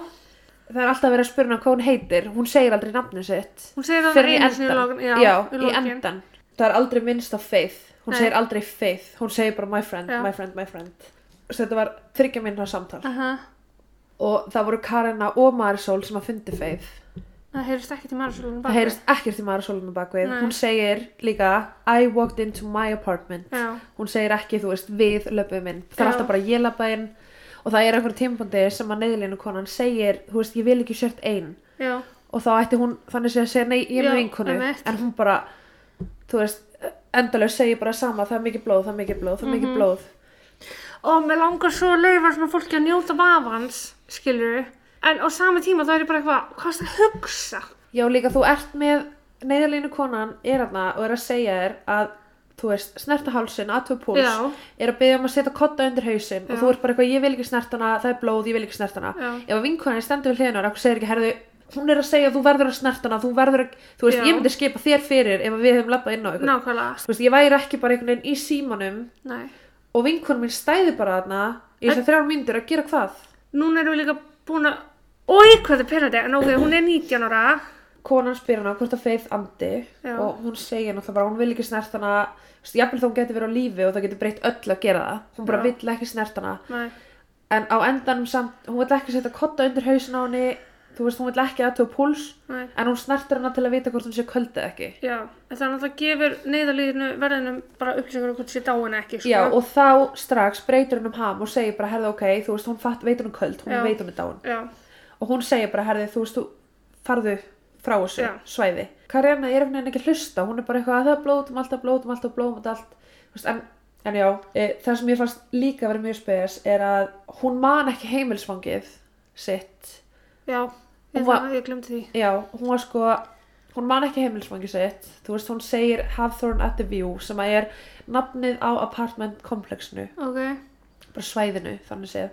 A: Það er alltaf verið að spyrna hvað hún heitir. Hún segir aldrei nafnið sitt.
B: hún segir það
A: Fyrr
B: einu sinni í
A: endan.
B: lokin. Já, í
A: í
B: lokin.
A: endan. Það er aldrei minnst á Faith. Hún
B: Nei.
A: segir aldrei Faith. Hún segir bara my friend,
B: Já.
A: my friend, my friend. Svo þetta var þryggja minna samtal.
B: Aha,
A: Og það voru Karina og Marisol sem að fundi Faith.
B: það heyrist ekki til margisólunum
A: Það heyrist ekkert í Marisólinu bakvið.
B: Nei.
A: Hún segir líka I walked into my apartment.
B: Já.
A: Hún segir ekki, þú veist, við löpum inn. Það er
B: Já.
A: alltaf bara ég lappa inn og það er einhver tímpandi sem að neðlínu konan segir, þú veist, ég vil ekki sjört einn.
B: Já,
A: Og þá ætti hún þannig sé að segja, nei, ég er
B: Já,
A: með vinkonu.
B: einmitt.
A: En hún bara, þú veist, endalega segir bara sama, það er mikið blóð, það er mikið blóð, það er
B: Mhm.
A: mikið blóð.
B: og mér langar svo að leifa svona fólki að njóta vafans, skilur En á sama tíma þá er ég bara eitthvað, hvað er það að hugsa?
A: Já, líka þú ert með neyðarlínu konan er hana og er að segja þér að þú veist, snerta hálsin, aðtöð púls
B: Já.
A: er að byggja um að setja kotta undir hausinn og
B: Já.
A: þú ert bara eitthvað, ég vil ekki snertana, það er blóð, ég vil ekki snertana
B: Já.
A: ef að vinkonan stendur við hliðinu og eitthvað segir ekki, herðu, hún er að segja að þú verður að snertana þú verður að, þú veist,
B: Já.
A: ég myndi skipa þér fyrir ef að við hefum labbað inn á eitthvað
B: Nákvæmlega,
A: þú veist, ég væri ekki bara einhvern veginn í símanum
B: nei
A: og vinkonan mín stæði bara þarna í þessar þrjár myndir að gera hvað
B: Núna erum við líka búin að Ói, hvað það er penandi, en ok, hún er 19 ára
A: konan spyr hana hvort að Faith andi
B: Já.
A: og hún segir náttúrulega bara hún vil ekki snert hana þú veist, jafnvel þá hún getur verið á lífi og það getur breytt öll að gera það hún bara
B: Já.
A: vill ekki snert hana
B: Nei,
A: en á endanum samt, hún vill ekki setja kotta undir hausin á henni þú veist, hún vill ekki aðtöfa púls
B: nei,
A: en hún snertir hana til að vita hvort hún sé köld eða ekki
B: já en Það er náttúrulega gefur neyðarliðinu verðinum bara upplýsingar um hvort sé dáin eða ekki sko.
A: Já, og þá strax breytir hún um ham og segir bara, herði, ok, þú veist, hún fatt, veit hún er köld, hún
B: Já.
A: veit hún er dáin.
B: Já,
A: Og hún segir bara, herði, þú veist, þú farðu frá þessu
B: Já.
A: svæði. Karjana er einhvern veginn ekki að hlusta, hún er bara eitthvað að það er blótum alltaf, blótum alltaf, blótum allt. Þú Veist, en, en já, e, það sem ég fannst líka verið mjög spes er að hún man ekki heimilsfangið sitt.
B: já,
A: Hún
B: ég,
A: var-
B: það, ég glemdi því
A: Já, hún var sko, hún man ekki heimilisfangi sitt þú veist hún segir Hafthorn at the View sem að er nafnið á apartment komplexinu
B: Ok.
A: bara svæðinu þannig séð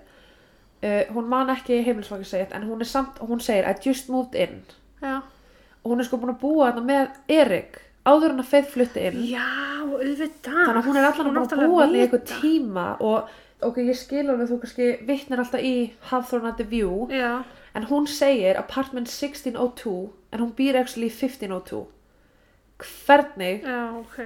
A: uh, hún man ekki heimilisfangi sitt en hún er samt hún segir I just moved in
B: Já.
A: og hún er sko búin að búa þarna með Erik áður en að Faith flutti inn
B: Já, auðvitað.
A: þannig að hún er allan búin að
B: náttúrulega
A: búa þarna í
B: vita.
A: einhver tíma og ok ég skil alveg þú kannski vittnar alltaf í Hafthorn at the View
B: Já.
A: En hún segir apartment 1602 en hún býr actually í 1502. Hvernig?
B: Já, ok.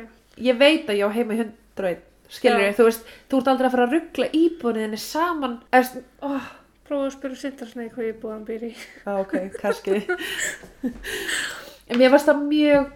A: Ég veit að ég á heima í 101. Skilur
B: Já.
A: þú veist, þú ert aldrei að fara að ruggla íbúinni saman. Er, oh,
B: Prófaðu að spyrja sindarsneið hvað ég búið hann býr í.
A: á, ok, kannski. en mér varst það mjög,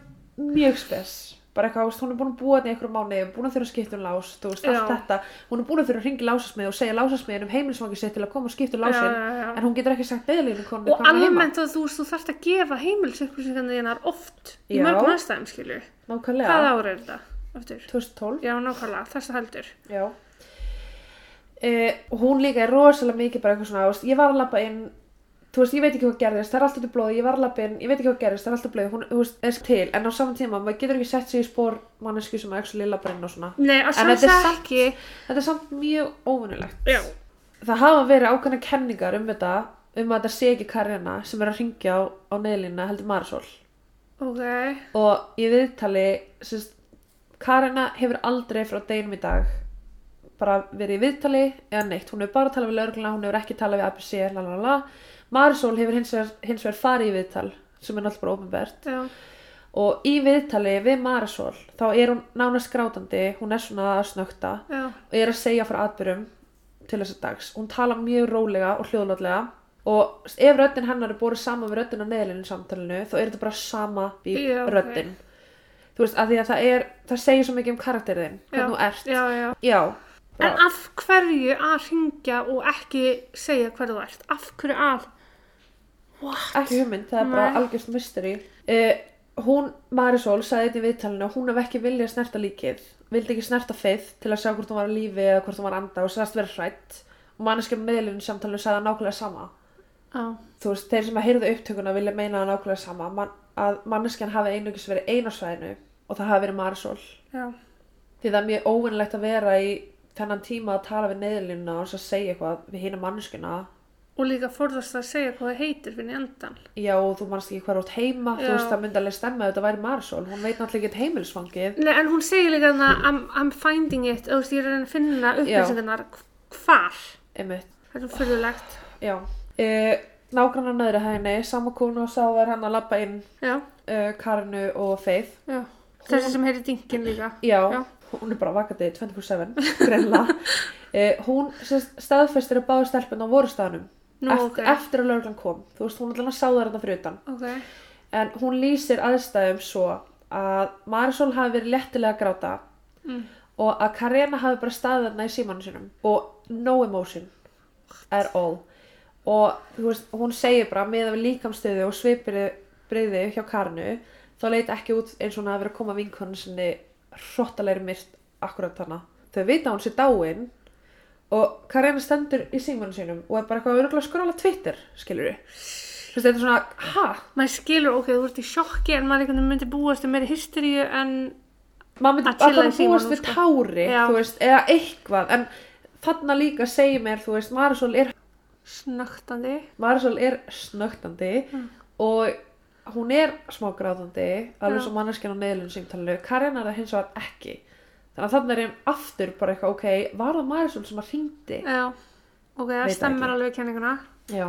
A: mjög spes. Bara eitthvað, þú veist, hún er búin að búa þetta í einhverjum mánu, búin að þurfa að skipta um lás, þú veist, allt
B: Já.
A: þetta. Hún er búin að þurfa að ringa lásasmið og segja lásasmiðin um heimilisvangið sitt til að koma og skipta um
B: Já,
A: lásin.
B: já, já.
A: En hún getur ekki sagt um beðlínu konu
B: Og almennt að þú veist, þú þarft að gefa heimilisupplýsingarna þínar oft í
A: Já.
B: mörgum aðstæðum, skilju.
A: Nákvæmlega.
B: Hvað ára er þetta? Aftur.
A: 2012.
B: Já, nákvæmlega, þess að heldur.
A: Já. Uh, hún líka er rosalega mikið bara eitthvað svona, þú veist, ég var að labba inn, þú veist, ég veit ekki hvað gerðist, það er allt út í blóði, ég var að labba inn, ég veit ekki hvað gerðist, það er allt í blóði, hún, þú veist, er til, en á saman tíma, maður getur ekki sett sig í spór mannesku sem að actually labba inn og svona.
B: Nei, að
A: En þetta er
B: sjálfsagt
A: samt-
B: ekki.
A: Þetta er samt mjög óvunulegt.
B: Já.
A: Það hafa verið ákveðna kenningar um þetta, um að þetta sé ekki Karjana sem er að ringja á, á neðlínuna heldur Marisol.
B: Ok.
A: og í viðtali sérst, Karina hefur aldrei frá deginum í dag bara verið í viðtali eða neitt, hún hefur bara talað við lögregluna hún hefur ekki talað við ABC lalala. Marisol hefur hins vegar, hins vegar farið í viðtal sem er náttúrulega bara ofinbært
B: Já.
A: og í viðtali við Marisol þá er hún nánast grátandi hún er svona að snökta
B: Já.
A: og er að segja frá atbyrjum til þess að dags hún talar mjög rólega og hljóðlátlega og ef röddinn hennar er borið saman við röddinn á neðlinni samtalinu þá er þetta bara sama bíl
B: Já, ok.
A: röddinn þú veist, af því að það er það segir svo mikið um karakterinn,
B: Já.
A: hvernig þú ert
B: Já, já.
A: já,
B: En
A: bara,
B: af hverju að ringja og ekki segja hver þú ert? Af hverju að? What?
A: ekki hugmynd það er bara
B: Nei.
A: algjörst mystery uh, hún, Marisol, sagði þetta í viðtalinu að hún hef ekki viljað snerta líkið vildi ekki snerta feið til að sjá hvort hún var að lífi eða hvort hún var að anda og sagðast vera hrætt og manneskja meðlunum samtalinu sagði það nákvæmlega sama
B: Já.
A: þú veist, þeir sem að heyrðu upptökuna vilja meina það nákvæmlega sama man, að manneskjan hafi einugis verið einu á svæðinu og það hafi verið Marisol því
B: Já.
A: það er mjög óvinnlegt að vera í þennan tíma að tala við neðlununa og svo segja eitthvað við hina manneskjuna
B: Og líka forðast að segja hvað það heitir fyrir endan.
A: já og þú manst ekki hvað rátt heima þú
B: Já.
A: veist það myndi alveg stemma að þetta væri Marisol hún veit náttúrulega ekki heimilisfangið
B: Nei, en hún segir líka þarna I'm, I'm finding it, þú veist, ég er að reyna að finna upplýsingarnar hvar.
A: einmitt,
B: Það er svo fyrirlegt.
A: já uh, nágrannar nöðri hægni samakúnu og sá þær hann að labba inn
B: Já,
A: uh, Karinu og Faith
B: já. Þessi sem heyri dingin líka.
A: Já,
B: Já.
A: hún er bara vakandi 24-7, greinlega. uh, hún sérst, staðfestir að báða stelpunna á vorustaðanum
B: Nú,
A: eftir,
B: ok.
A: eftir að lögreglan kom. Þú veist, hún allan að sá það hérna fyrir utan.
B: Ok.
A: En hún lýsir aðstæðum svo að Marisol hafi verið lettilega að gráta og að Karena hafi bara staðið þarna í símanu sinum og no emotion at all. Og þú veist, hún segir bara meðan við líkamstöðu og svipbriði hjá Karnu þá leit ekki út eins og hún hafi verið að koma vinkonu sinni hrottalegri myrt akkurat þarna. Þau vita að hún sé dáin og Karena stendur í símanu sinum og er bara eitthvað örugglega að skróla Twitter, skilur við. Þú veist, þetta er svona, ha?
B: Maður skilur, ok, þú ert í sjokki en maður einhvern veginn myndi búast um meiri hysteríu en...
A: maður myndi
B: Að chilla
A: alltaf
B: í símanum,
A: búast við
B: sko.
A: tári
B: Já.
A: þú veist, eða eitthvað en þarna líka segir mér, þú veist Marisol er,
B: Snögtandi.
A: Marisol er snögtandi
B: Mm.
A: og hún er smá grátandi alveg
B: Já.
A: svo manneskjan á neðlun símtalinu Karin um. er það hins vegar ekki þannig að þarna er einn aftur bara eitthvað ok var það Marisol sem að hringdi
B: Já, ok, það
A: Veit það
B: stemmar
A: ekki.
B: alveg við kenninguna.
A: Já.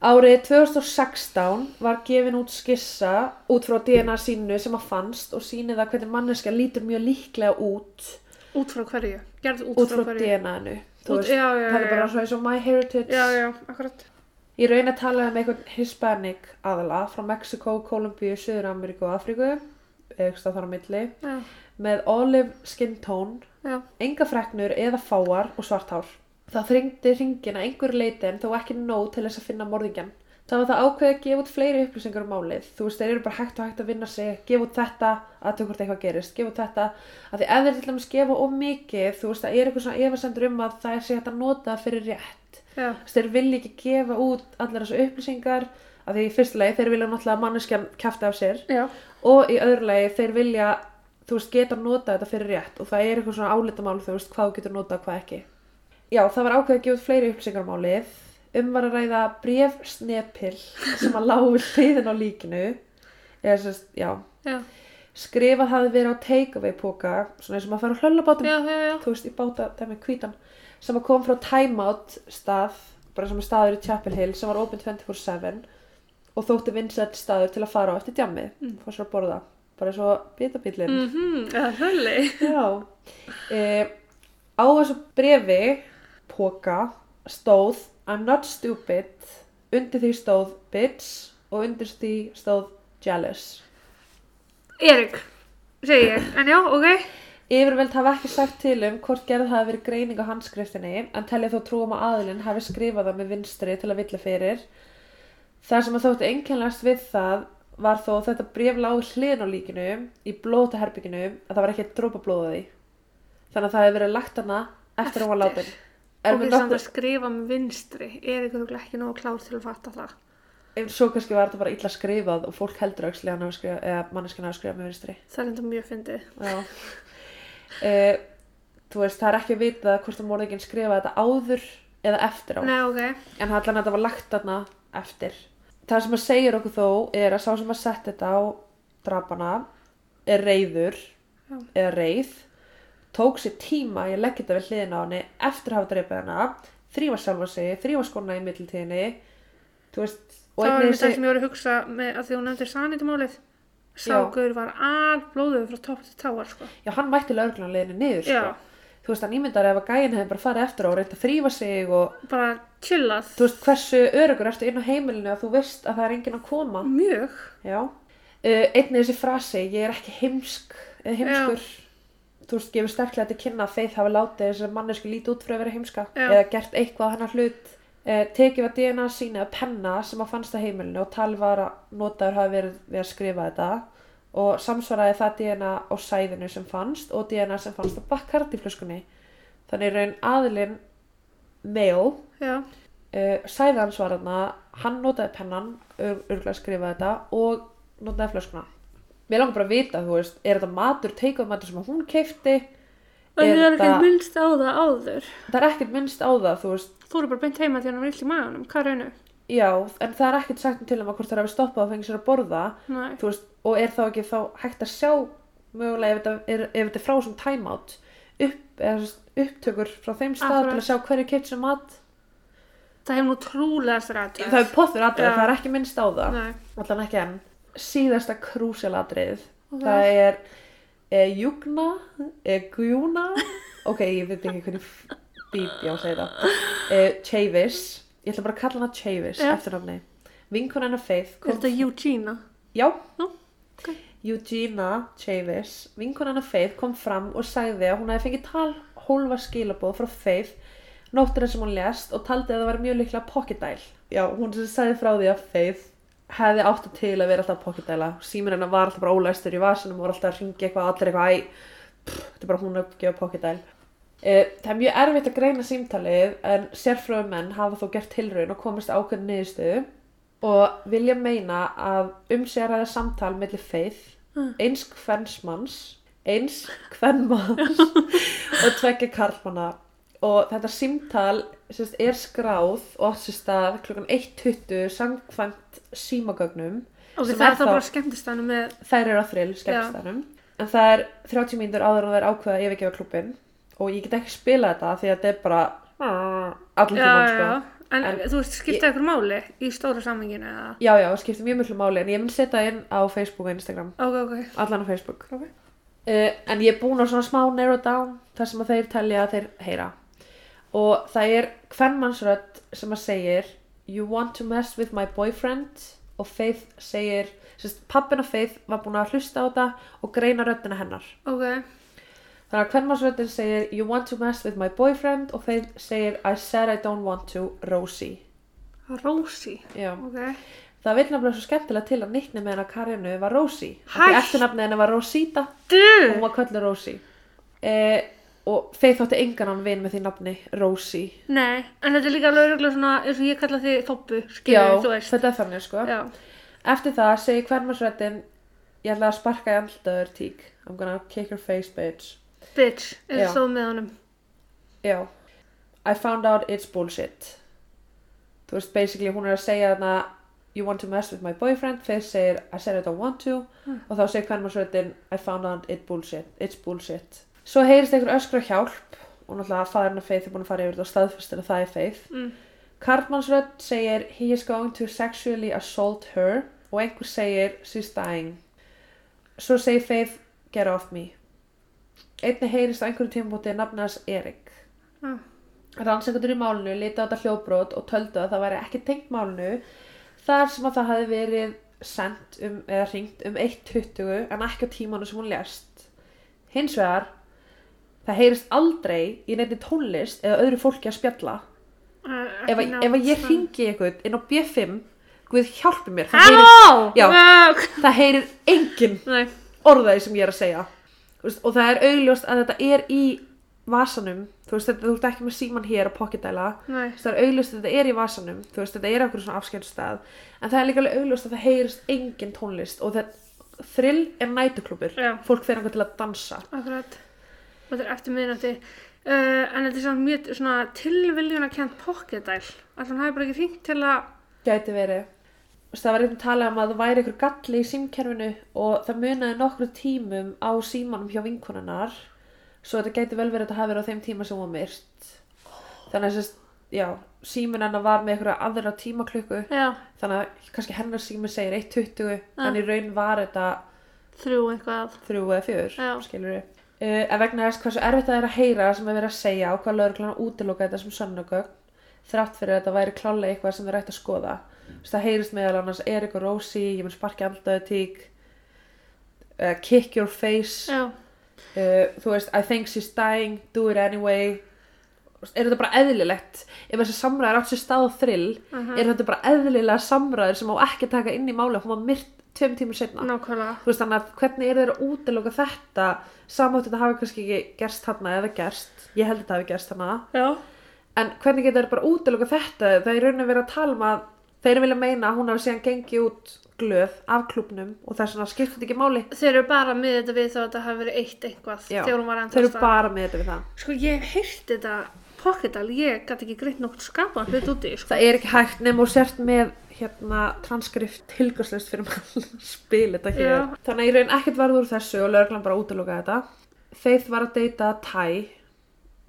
A: Árið 2016 var gefin út skissa út frá DNA sínu sem að fannst og sýnið það hvernig manneskja lítur mjög líklega út
B: Út frá hverju? Gerð út,
A: út
B: frá,
A: frá
B: hverju?
A: DNA-nu þú
B: Út-
A: veist,
B: já, já,
A: það er
B: já,
A: bara
B: já.
A: svo eins og MyHeritage
B: Já, já, akkurat.
A: ég raun að tala um einhvern Hispanic aðala frá Mexiko, Kolumbíu, Suður Ameríku og Afríku eða þar á milli
B: Já,
A: með olive skin tone
B: já,
A: enga freknur eða fáar og svart hár það þringdi ringin að einhverju leiti en þó ekki nóg til þess að finna morðingjan það var það ákveði að gefa út fleiri upplýsingar um málið þú veist, þeir eru bara hægt og hægt að vinna sig gefa út þetta, að þau hvort eitthvað gerist gefa út þetta, að því ef þeir til dæmis gefa of mikið þú veist, það er eitthvað svona efasendur um að það sé hægt að nota fyrir rétt
B: Já.
A: Þess, þeir vilja ekki gefa út allar þessu upplýsingar af því í fyrsta lagi þeir vilja náttúrulega að manneskjan kæfti af sér
B: Já.
A: og í öðru lagi þeir vilja þú veist geta nota þetta fyrir rétt og það er eitthvað svona álitamál þú veist hvað þú getur nota og hvað ekki já það var ákveð að gefa út fleiri upplýsingar um málið um var að ræða brefsnepil sem að lágu við hliðin á líkinu eða sérst, já
B: Já.
A: skrifað hafði verið á takeaway póka svona eins og maður fara á hlöllabátum
B: Já, já, já.
A: þú veist, í báta, það með hvítan sem að kom frá timeout stað bara sem er staður í Chapel Hill sem var open 24-7 og þótti vinsett staður til að fara á eftir djamið mm. fór sér að borða, bara svo bitabílinn
B: Mhm, eða hölli.
A: Já. Eh, á þessu brefi, póka, stóð I'm not stupid, undir því stóð bitch og undir því stóð jealous.
B: Erik, segi ég. En já, ok.
A: Yfirvöld hafa ekki sagt til um hvort gerð hafi verið greining á handskrifinni en telja þó trúum að aðilinn hafi skrifað það með vinstri til að villa fyrir. Það sem að þótti einkennlegast við það var þó að þetta bref lág hliðin á líkinu í blótaherbygginu að það var ekki að drópa blóða því. Þannig að það hefði verið lagt hana eftir að hún var
B: Eftir.
A: látin.
B: Er
A: Er
B: ok,
A: við
B: samt að
A: nokkuð,
B: skrifa með vinstri. Erik er ekki nógu klár til að fatta það.
A: en svo kannski var þetta bara illa skrifað og fólk heldur aukslega hann hafi skrifað, eða manneskinn hafi skrifað með vinstri.
B: Það er enda mjög fyndið.
A: Já. Uh, þú veist, það er ekki að vita hvort að morðingin skrifaði þetta áður eða eftir á.
B: Nei, ok.
A: En allan þetta var lagt þarna eftir. Það sem að segir okkur þó er að sá sem að setja þetta á drapana er reyður
B: Já.
A: eða reyð tók sér tíma í að leggja þetta við hliðina á henni eftir að hafa dreipið hana þrýfa sjálfa sig, þrýfa skona í mittiltíðinni þú veist og
B: það var
A: einnig
B: einmitt það
A: þessi
B: sem ég voru að hugsa með að því hún nefndir sanitumálið.
A: Já.
B: Sákur var all blóðuð frá topp til táar, sko.
A: já hann mætti lögreglan leiðinu niður
B: Já.
A: sko. þú veist hann ímyndar ef að gæin hefði bara farið eftir á og reynt að þrýfa sig og
B: Bara chillað.
A: þú veist hversu örugur ertu inn á heimilinu að þú veist að það er enginn að koma
B: Mjög.
A: Já. Uh, einnig þessi frasi, ég er ekki heimsk eða heimskur, þú veist, gefur sterklega til kynna að þeir hafi látið þessi mannesku lítið út fyrir að vera heimska
B: Já.
A: eða gert eitthvað á hennar hlut. Uh, tekið var DNA sína að penna sem að fannst á heimilinu og tal var að notaður hafi verið við að skrifa þetta og samsvaraði það DNA á sæðinu sem fannst og DNA sem fannst á bakkartiflöskunni. Þannig í raun aðilinn male
B: Já.
A: uh, sæði hans var þarna, hann notaði pennan, ör- örugglega skrifaði þetta og notaði flöskuna. Mér langar bara að vita, þú veist, er þetta matur, teikað matur sem að hún keipti?
B: Og
A: Er
B: það er ekkert
A: þetta-
B: minnst á það áður.
A: Það er ekkert minnst á það, þú veist,
B: Þú eru bara beint heima því hann var illt í maðunum. Hvað raunu?
A: já, en það er ekkert sagt til um að hvort það hafi stoppað og fengið sér að borða,
B: Nei.
A: þú veist, og er þá ekki þá hægt að sjá mögulega ef þetta er, ef þetta er frá sem timeout, upp, eða, þú veist, upptökur frá þeim stað til
B: Akkurat.
A: að sjá hverju keipt sem mat.
B: Það hefur nú trúlega sér aðtöð.
A: Það er poffir aðrið,
B: Já.
A: það er ekki minnst á það.
B: Nei.
A: allan ekki enn síðasta krúsialatrið
B: Ok.
A: það er e, júgna, e, gjúna ok, ég veit ekki hvernig f- bíp ég á að segja það e, Chavis, ég ætla bara að kalla hana Chavis
B: Já.
A: eftirnafni, vinkun hennar Faith
B: Er
A: kom,
B: þetta Eugenia?
A: já,
B: Já, ok.
A: Eugenia Chavis vinkun hennar Faith kom fram og sagði að hún hefði fengið tal hólfa skilabóð frá Faith nóttina sem hún lest og taldi að það var mjög líklega pocketdæl. Já, hún sem sagði frá því að Faith hefði átt það til að vera alltaf pocketdæla. Síminn hennar var alltaf bara ólæstur í vasanum og var alltaf að ringi eitthvað, allir eitthvað, æ, pff, þetta er bara hún að gefa pocketdæl. Uh, það er mjög erfitt að greina símtalið en sérfröðumenn hafa þó gert tilraun og komist að ákveðin niðurstöðu og vilja meina að um sér aðeins samtal mellir Faith, eins kvennsmanns, eins kvennmanns og tveggja karlmanna og þetta símtal sérst, er skráð og átt sér stað klukkan 1.20 samkvæmt símagögnum
B: Ok,
A: Sem
B: það
A: er
B: er
A: þá-
B: þá bara skemmtistæðinu með...
A: þær eru á þrill skemmtistanum en það er 30 mínútur áður en það er ákveða að yfirgefa klubin og ég get ekki spila þetta því að þetta er bara allir
B: Já,
A: tímann
B: já,
A: sko
B: já. En,
A: En-
B: þú veist, skipta ykkur máli í stóra samhenginu eða...
A: já já, það skiptir mjög mjög máli en ég mun setja inn á Facebook og Instagram
B: Ok, ok.
A: allan á Facebook okay. en ég er búin á svona smá narrow down þar sem að þeir telja að þeir heyra og það er hvernmannsrödd sem að segir you want to mess with my boyfriend og Faith segir sérst, pappina Faith var búin að hlusta á þetta og greina röddina hennar
B: Ok,
A: þannig að hvernmannsröddin segir you want to mess with my boyfriend og Faith segir I said I don't want to, Rosie
B: Rósi.
A: Já.
B: Ok.
A: Það vil nefnilega svo skemmtilega til að nýtni með hennar Karinu var Rosie. Hætt!
B: Hætt!
A: Eftirnafnið hennar var Rosita
B: Du!
A: og hún var köllu Rósi eh, og Faith þótti engan hann vin með því nafni, Rosie.
B: Nei, en þetta er líka alveg örugglega svona, eins og ég kalla þig þoppu,
A: Já,
B: skilur, þú veist.
A: þetta er þannig sko.
B: Já,
A: Eftir það segir hvermarsrættin, ég ætla að sparka í andlitaður tík. I'm gonna kick your face, bitch.
B: bitch,
A: Já.
B: eins og þú með honum.
A: Já. I found out it's bullshit. Þú veist, basically hún er að segja þarna You want to mess with my boyfriend Faith segir, I said I don't want to og þá segir kvenmarsröddin I found out it's bullshit, it's bullshit. Svo heyrist einhver öskra hjálp og náttúrulega faðurinn af Faith er búin að fara yfir þetta og staðfestir að það er Faith. Mm. Karlmannsrödd segir He is going to sexually assault her og einhver segir She's dying. Svo segir Faith Get off me. Einnig heyrist á einhverju tímabúti nafnas Erik. Rannsakundur í málinu liti á þetta hljóbrot og töldu að það væri ekki tengt málinu þar sem að það hafi verið sendt um, eða ringt um 1.20 en ekki á tímanu sem hún lést. Hins vegar, það heyrist aldrei í neinni tónlist eða öðru fólki að spjalla. Ef, að, ef að ég ringi ykkur inn á B5, guð hjálpi mér, það
B: Halló!
A: heyrir, já,
B: Vá!
A: það heyrir enginn
B: Nei,
A: orðaði sem ég er að segja Þú veist, og það er augljóst að þetta er í vasanum, þú veist þetta þú ert ekki með síman hér að pocketdæla
B: Nei.
A: það er augljóst að þetta er í vasanum þú veist þetta er okkur svona afskjöndsstað en það er líka alveg augljóst að það heyrist engin tónlist og það þrill er nætuklubur
B: Já.
A: fólk fer einhvern til að dansa
B: akkurat. Og þetta er eftir miðnætti. Uh, en þetta er samt mjög svona tilviljun að kjent pocketdæl. Alltaf hann hafi bara ekki hringt til að...
A: gæti verið Þú veist, það var einhvern talað um að það væri einhver galli í símkerfinu og það munaði nokkru tímum á símanum hjá vinkonunnar svo þetta gæti vel verið að það hafi verið á þeim tíma sem hún var myrt þannig að sérst, já, símin hennar var með einhverja aðra tímaklukku
B: Já,
A: þannig að kannski hennar sími segir 1.20 en í raun var þetta
B: þrjú eitthvað.
A: þrjú eða fjör,
B: Já.
A: skilur við. Uh, en vegna þess hversu erfitt það er að heyra sem er verið að segja og hvað lögreglan útiloka þetta sem sönnugögn, þrátt fyrir að þetta væri klálega eitthvað sem er rætt að skoða. Þess það heyrist meðal annars Erik og Rósi, ég mun sparki andlaðu tík, uh, kick your face,
B: Já,
A: uh, þú veist, I think she's dying, do it anyway. Þú veist, Er þetta bara eðlilegt? Ef þessi samræður átt sér stað og þrill, er þetta bara eðlilega samræður sem á ekki að taka inn í máli og hún var myrt tveim tímur setna?
B: nákvæmlega.
A: þú veist þannig að hvernig er þeir að útiloka þetta samátt þetta hafi kannski ekki gerst þarna eða gerst, ég held að þetta hafi gerst þarna
B: Já.
A: en hvernig getur þeir bara útiloka þetta það er raunin verið að tala um að þeir vilja meina að hún hafi síðan gengið út glöð af klubnum og þess vegna skiptir þetta ekki máli
B: Þeir eru bara með þetta við þá að þetta hafi verið eitt eitthvað.
A: Já,
B: Þegar hún var ennþá
A: þeir eru bara með þetta við það
B: Sko, ég hef heyrt þetta pocketdæl. Ég gæti ekki greitt nokkuð skapað hlut úti, sko.
A: það er ekki hægt nema og sért með hérna transkrift tilgjörsleust fyrir maður að spila þetta hér
B: Já.
A: þannig að í raun ekkert varð úr þessu og lögreglan bara útilokaði þetta Faith var að deyta Ty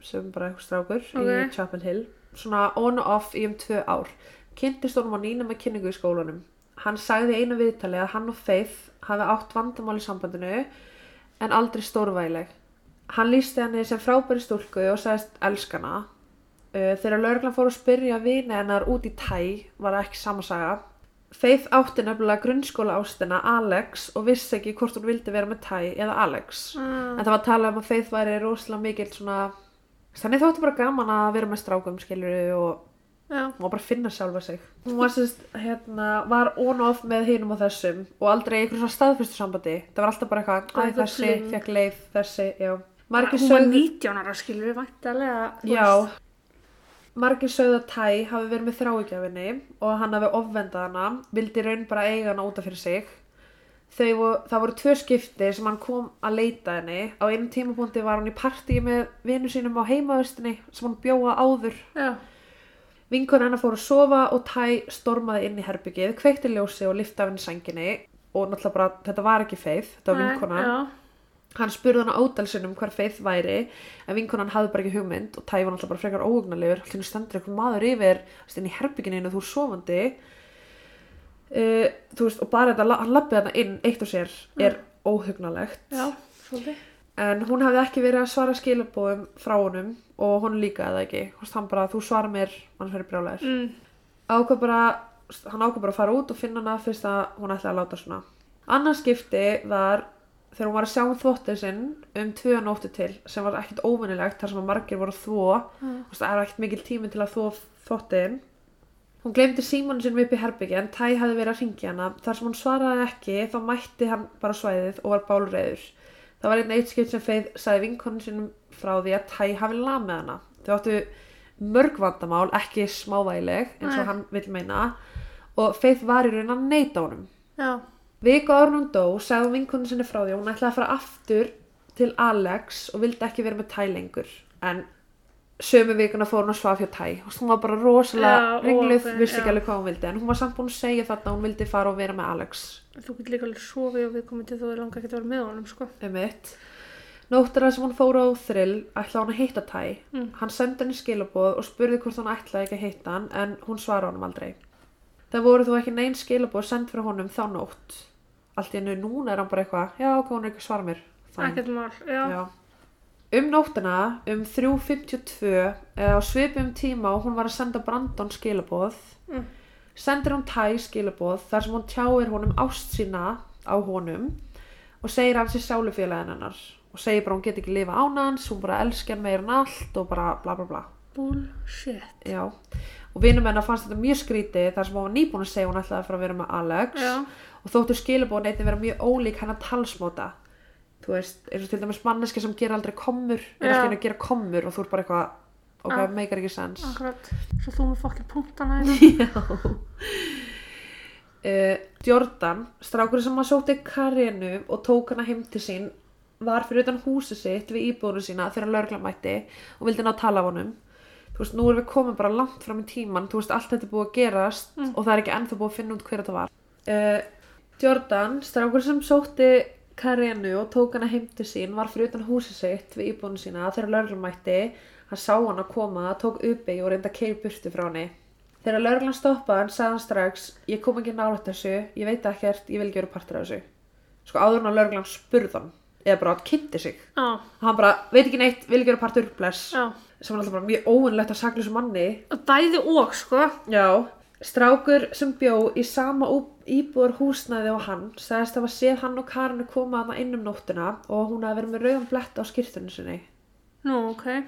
A: sem bara eitthvað strákur í
B: Ok.
A: Chapel Hill svona on og off í um tvö ár kynntist honum á nýnum að kynningu í skólanum hann sagði í einu viðtali að hann og Faith hafi átt vandamál í sambandinu en aldrei stórvægileg hann lísti henni sem frábæri stúlku og sagðist elskana Uh, þegar lauruglan fór að spyrja vini hennar út í tæ var það ekki samasaga. Faith átti nefnilega grunnskóla ástina Alex og vissi ekki hvort hún vildi vera með tæ eða Alex. En það var að tala um að Faith væri rosalega mikill svona... Þannig þótti bara gaman að vera með strákum, skilur og
B: Já.
A: hún var bara að finna sjálfa sig. Hún var, sérst, hérna, var on-off með hinum og þessum og aldrei í einhverjum svona staðfyrstu sambandi. Það var alltaf bara eitthvað, æ,
B: Eitthvað
A: þessi,
B: fling."
A: fekk leið, þessi, já. Margir
B: Hún var
A: sögðu-
B: 19 ára, skilur við, væntalega.
A: Já, margir sögðu að Tæ hafi verið með þráigjafinni og að hann hafi ofvendað hana, vildi í raun bara eiga hana útaf fyrir sig. Þau, vo- það voru tvö skipti sem hann kom að leita henni. Á einum tímapunkti var hann í partíi með vinnu sínum á heimaðustinni sem hann bjóa áður.
B: Já.
A: Vinkon hennar fór að sofa og Tæ stormaði inn í herbyggið, kveikti ljósi og lifti af henni sænginni og náttúrulega bara, þetta var ekki feið, þetta var
B: Nei,
A: vinkona.
B: Já.
A: Hann spurði hann á ódalsinum hver feið væri en vinkonan hafði bara ekki hugmynd og tæði hann alltaf bara frekar óugnalegur alltaf henni stendur einhver maður yfir stendur í herbygginu inn og þú er sofandi uh, þú veist og bara þetta la- hann lappið hann inn eitt og sér er óhugnalegt
B: Já, svolítið.
A: en hún hafði ekki verið að svara skilabóðum frá honum og hún líka eða ekki Þú veist, hann bara þú svara mér hann fyrir brjálæður
B: Mm.
A: ákvað bara, hann ákvað bara að fara út og finna hana fyrst að hún ætlaði að láta svona. Annars skipti var þegar hún var að sjá um þvottir sinn um tvö nóttu til sem var ekkert óvinnilegt þar sem að margir voru að þvó og það er ekkert mikil tími til að þvó þvottin. Hún glemdi símanu sinum upp í herbyggi en Tæ hafði verið að ringja hana. Þar sem hún svaraði ekki þá mætti hann bara á svæðið og var bálreiður. Það var einnig eitt skipt sem Feið sagði vinkonum sínum frá því að Tæ hafi lamið hana. Þau áttu mörg vandamál, ekki smávægileg, eins og
B: Nei.
A: hann vill meina, og Feið var í raun að neyta honum.
B: Já.
A: Viku áður en hún dó sagði hún vinkonum sinni frá því að hún ætlaði að fara aftur til Alex og vildi ekki vera með Tæ lengur. En sömu vikuna fór hún að svaf hjá Tæ og hún var bara rosalega
B: Já,
A: ringluð,
B: opin,
A: vissi ekki
B: já.
A: alveg hvað hún vildi. En hún var samt búin að segja þetta að hún vildi fara og vera með Alex
B: Þú getur líka alveg sofið og við komum til þú er langa ekki að vera með honum, sko.
A: um mitt. Nóttina sem hún fór á þrill ætlaði hún að hitta Tæ. Hann sendi henni skilaboð og spurði hvort hann ætlaði ekki að hitta hann en hún svaraði honum aldrei. Það voru þó ekki neinn skilaboð send frá honum þá nótt. Allt í hennu núna er hann bara eitthvað, já ok, hún er ekki að svara mér. Fine.
B: Ekkert mál, já.
A: Já. Um nóttina, um 3.52, eða á svipum tíma og hún var að senda Brandon skilaboð,
B: Mm.
A: sendir hún Tæ skilaboð þar sem hún tjáir honum ást sína á honum og segir hans í sálufélagin hennar og segir bara hún get ekki lifa án hans, hún bara elskja hann meir en allt og bara bla bla bla.
B: Bullshit.
A: Já, og vinum hennar fannst þetta mjög skrítið þar sem hún var nýbúin að segja að hún ætlaði að fara að vera með Alex
B: Já.
A: og þóttu skilabóðin einnig vera mjög ólík hennar talsmóta þú veist, eins og til dæmis manneski sem gera aldrei kommur en
B: Já.
A: allt í einu að gera kommur og þú er bara eitthvað ok,
B: Ah.
A: ah. meikar ekki sens
B: Akkurat. Svo þú með fokkin punktana hérna.
A: uh, Jordan, strákurinn sem að sótti Karinu og tók hana heim til sín var fyrir utan húsi sitt við íbúinu sína þegar lögla mætti og vildi ná að tala af honum þú veist, nú erum við komin bara langt fram í tíman þú veist, allt þetta er búið að gerast og það er ekki ennþá búið að finna út hver þetta var uh, Jordan, strákurinn sem sótti Karinu og tók hana heim til sín var fyrir utan húsi sitt við íbúinu sína þegar lögla mætti hann sá hana koma, tók uppi og reynda að keiri burtu frá henni Þegar lauruglan stoppaði hann sagði hann strax Ég kom ekki nálægt þessu, ég veit ekkert, ég vil ekki vera partur af þessu Sko áður hann að lauruglan spurði hann Eða bara hann kynnti sig
B: Já,
A: Hann bara, veit ekki neitt, vil ekki vera partur, bless
B: já.
A: Sem var alltaf bara mjög óunlegt að sakla þessu manni
B: Og Bæði og, sko.
A: Já Strákur sem bjó í sama íbúður húsnæði og hann sagðist að séð hann og Karinu koma að það inn um nóttina og hún hafi verið með rauðan blett á skýrtunni sinni
B: Nú, ok.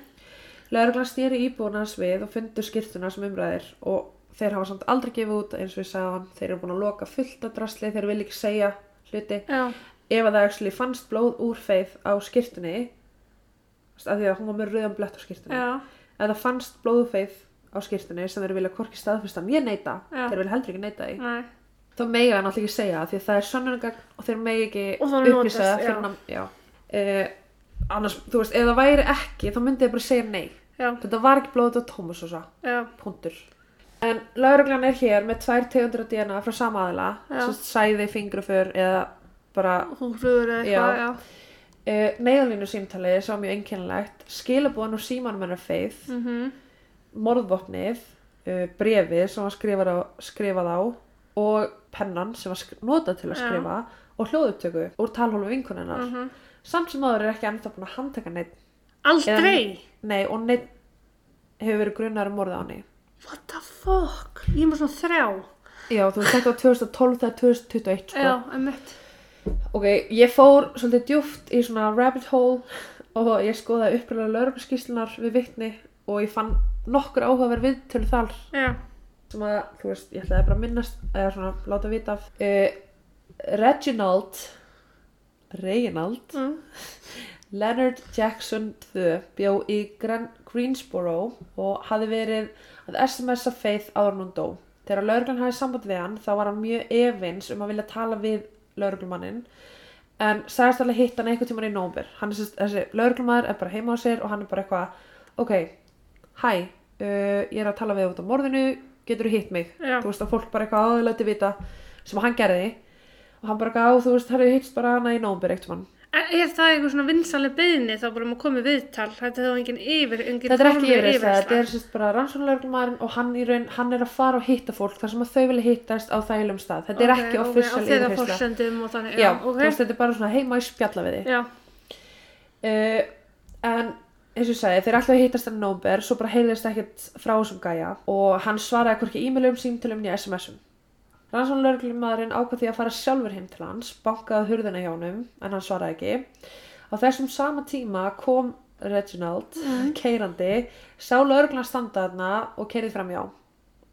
A: Lörgla snýri íbúðuna hans við og fundu skýrtuna sem umræðir og þeir hafa samt aldrei gefið út eins og ég sagði hann, þeir eru búin að loka fullt af drasli, þeir vilja ekki segja hluti
B: Já.
A: ef að það actually fannst blóð úr feið á skýrtunni af því að hún var með rauðan blett á skýrtunni
B: Já.
A: ef það fannst blóð úr feið á skýrtunni sem þeir vilja korki staðfesta ég neita,
B: Já.
A: þeir vilja heldur ekki neita því
B: Nei.
A: þá megi hann alltaf ekki segja það, því að það er sönnunagagn og þeir megi ekki
B: Og það er
A: upplýsa
B: notast,
A: það fyrir
B: já.
A: hann já. Eh, annars, þú veist, ef það væri ekki þá myndi þeir bara segja nei
B: Já.
A: Þetta var ekki blóðið á Thomas og svo,
B: Já.
A: punktur. En lauruglan er hér með tvær tegundur af DNA frá sama aðila,
B: Já.
A: sem sagt sæði, fingruför eða bara
B: Húflugur eða eitthvað,
A: Já.
B: já.
A: uh, neyðalínu símtalið sem var mjög einkennilegt, skilabóðan úr símanum hennar feið,
B: Mhm.
A: morðvopnið, uh, brefið sem var skrifað á, skrifað á og pennan sem var sk- notað til að
B: Já.
A: skrifa og hljóðupptöku úr talhólfu vinkuninnar.
B: Mhm.
A: Samt sem áður er ekki ennþá búin að handtaka neitt,
B: Aldrei.
A: nei og neitt hefur verið grunnar um morðið á henni.
B: What the fuck? Ég er með svona þrjá.
A: Já, þú veist, þetta var 2012 þegar 2021, sko.
B: Já, emmitt.
A: Ok, ég fór svolítið djúft í svona rabbit hole og ég skoðaði uppröðlega lauruglaskýslunar við vittni og ég fann nokkur áhugaverð viðtölu þar
B: Já.
A: sem að, þú veist, ég ætlaði bara að minnast eða svona láta vita af uh, Reginald Reginald
B: Mm.
A: Leonard Jackson II bjó í Gran Greensboro og hafði verið að SMS-a Faith áður en hún dó. Þegar lauruglan hafði samband við hann þá var hann mjög efins um að vilja tala við lauruglumannin en sagðist alveg hitt hann einhvern tímann í nómber. Hann er sérst, þessi lauruglumæður er bara heima á sér og hann er bara eitthvað, ok, hæ, uh, ég er að tala við þig út á morðinu, getur þú hitt mig?
B: Já.
A: Þú veist að fólk bara eitthvað aðeins læti vita sem hann gerði og hann bara eitthvað, "Á, þú veist, það hittst bara hana í nómber eitt mann.
B: En E, Er það eitthvað svona vinsali beðni þá bara maður komið viðtal? Þetta er þá engin yfir, engin
A: Þetta er ekki
B: formleg
A: yfirreysla,
B: yfirheyrsla.
A: þetta er sérst bara rannsóknarlegumarinn og hann í raun, hann er að fara og hitta fólk þar sem að þau vilja hittast á þægilegum stað. Þetta er
B: Ok,
A: ekki
B: ok,
A: official
B: og
A: yfirreysla.
B: þeirra forsendum og þannig,
A: Já,
B: já,
A: þú veist, þetta er bara svona heima í spjalla við þig.
B: Já,
A: Uh, en eins og ég sagði, þeir alltaf hittast enn nómber, svo bara heyrðist ekkert frá þessum gæja og hann svaraði hvorki e-mailum, símtölum né SMS-um. Rannsóknarlegumarinn ákvað því að fara sjálfur heim til hans, bankaði á hurðina hjá honum, en hann svaraði ekki. Á þessum sama tíma kom Reginald, keyrandi, sá lauruglan standa þarna og keyrið fram hjá.